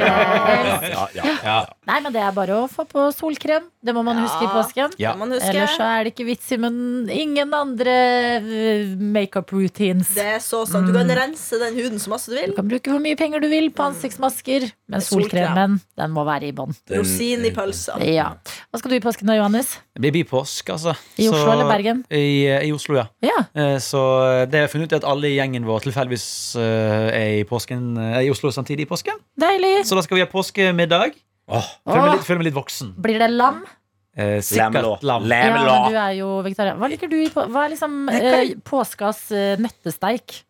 B: Ja,
D: Ja.
B: Nei, men det er bare å få på solkrem. Det må man huske i påsken.
D: Ja.
F: Kan man huske?
B: Ellers så er det ikke vits i men ingen andre eh, makeup routines.
F: Det er så sant. Du
B: Mm.
F: kan rense den huden så masse du
B: Du
F: vil.
B: kan bruke hvor mye penger du vil på ansiktsmasker, men
F: Solkrem.
B: solkremen den må være i bånn.
F: Rosin i pølsa.
B: Ja. Hva skal du i påsken da, Johannes?
D: Det blir bypåsk, altså.
B: I Oslo eller Bergen?
D: I, I Oslo, ja.
B: Ja,
D: Eh, Så det jeg har funnet ut er at alle i gjengen vår tilfeldigvis eh, er i, påsken, eh, i Oslo samtidig i påsken.
B: deilig.
D: Så da skal vi ha påskemiddag. Føler
E: Ah.
B: Åh.
D: meg litt, føler meg litt voksen.
B: Blir det lam?
D: Eh,
E: Lamelå.
D: sikkert lam.
B: Ja,
E: Lamelå.
B: men du er jo vegetarian. Hva liker du i på Hva er liksom eh, påskas eh, nøttesteik?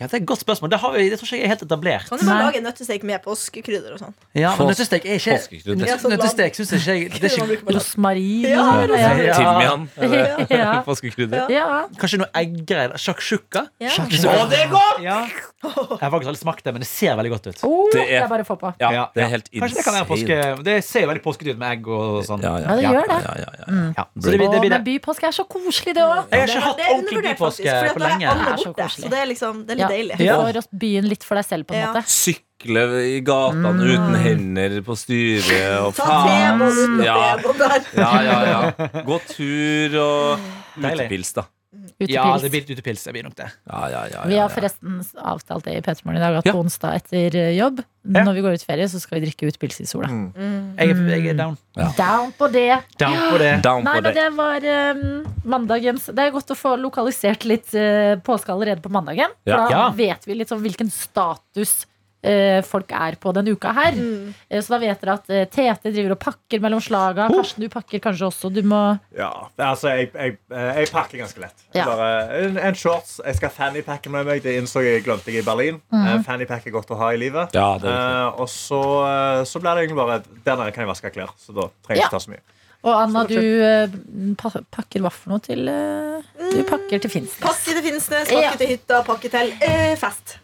D: Ja, det er et godt spørsmål. Det, har vi, det tror ikke jeg er helt etablert.
F: Kan du bare
B: Nei.
F: lage en nøttesteik med påskekrydder og sånn?
D: Ja, men
E: Pås-
D: Nøttestek er ikke
E: påskekrutt.
D: nøtt-
F: Ja, sånn lam.
D: Nøttestek synes jeg ikke det er ikke,
B: Rosmarin?
F: Ja,
B: og sånn,
E: Timian.
B: Ja.
E: Påskekrydder.
F: Ja.
B: ja.
D: Kanskje noe egggreier. Sjaksjukka?
F: Ja.
E: Å, det er godt!
D: Ja. Jeg har faktisk aldri smakt det, men det ser veldig godt ut.
B: Oh, det
E: Det er-
B: er bare å få på.
E: Ja, det er helt
D: Kanskje det kan være påske
E: insane.
D: Det ser jo veldig påskete ut med egg og sånn.
E: Ja,
B: Ja, det gjør det.
E: Ja, ja, ja, ja.
D: Ja. Så det, blir-
B: Å,
D: det, blir
B: men
D: det.
B: bypåske er så koselig, det òg.
D: Jeg har ikke
F: Men
D: hatt
F: det er
D: ordentlig
F: undervurdert, faktisk,
D: bypåske på
F: fordi at da er
D: lenge.
F: alle
B: Det er så
F: borte,
B: koselig.
F: Så det er liksom, det er litt
B: Ja.
F: deilig.
B: Du
D: Ja.
B: får oss byen litt for deg selv, på en
F: Ja.
B: måte.
E: Sykle i gatene uten hender på styret og
F: Ta tebåten
E: Ja.
F: og der.
E: Ja, ja, ja. Gå tur og
D: Deilig.
E: utepils, da.
B: Utepils.
D: Ja, det blir utepils. Det blir nok det.
E: Ja, ja, ja,
B: Vi har
E: ja, ja.
B: forresten avtalt det i P3 Morgen i dag at
E: Ja.
B: på onsdag etter eh, jobb,
D: Ja. Mm.
B: når vi går ut i ferie, så skal vi drikke ut pils i sola.
D: Jeg er, jeg er down.
E: Ja.
B: Down på det!
D: Down på det.
E: Down
B: Nei,
E: på
B: men
E: det.
B: det var eh, mandagens Det er godt å få lokalisert litt eh, påske allerede på mandagen. For
E: Ja.
B: da
D: Ja.
B: vet vi litt sånn hvilken status eh, folk er på denne uka her. Eh, så da vet dere at eh, Tete driver og pakker mellom slaga. Karsten, du pakker kanskje også. Du må
G: Ja, altså, jeg, jeg, jeg pakker ganske lett.
B: Ja.
G: Bare en, en shorts. Jeg skal fannypacke med meg. Det innså jeg glemte jeg i Berlin. Eh,
B: Mhm.
G: Fannypack er godt å ha i livet.
E: Ja, det er
G: Eh, og så, eh, så blir det egentlig bare Der nede kan jeg vaske klær. Så da trenger jeg
B: Ja.
G: ikke ta så mye.
B: Og Anna, du eh, pa pakker hva for noe til eh, Du pakker til Finnsnes.
F: Pakke til Finnsnes,
B: Ja.
F: pakke til hytta, pakke til eh, fest.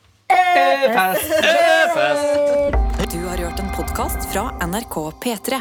A: Du har hørt en podkast fra NRK P3.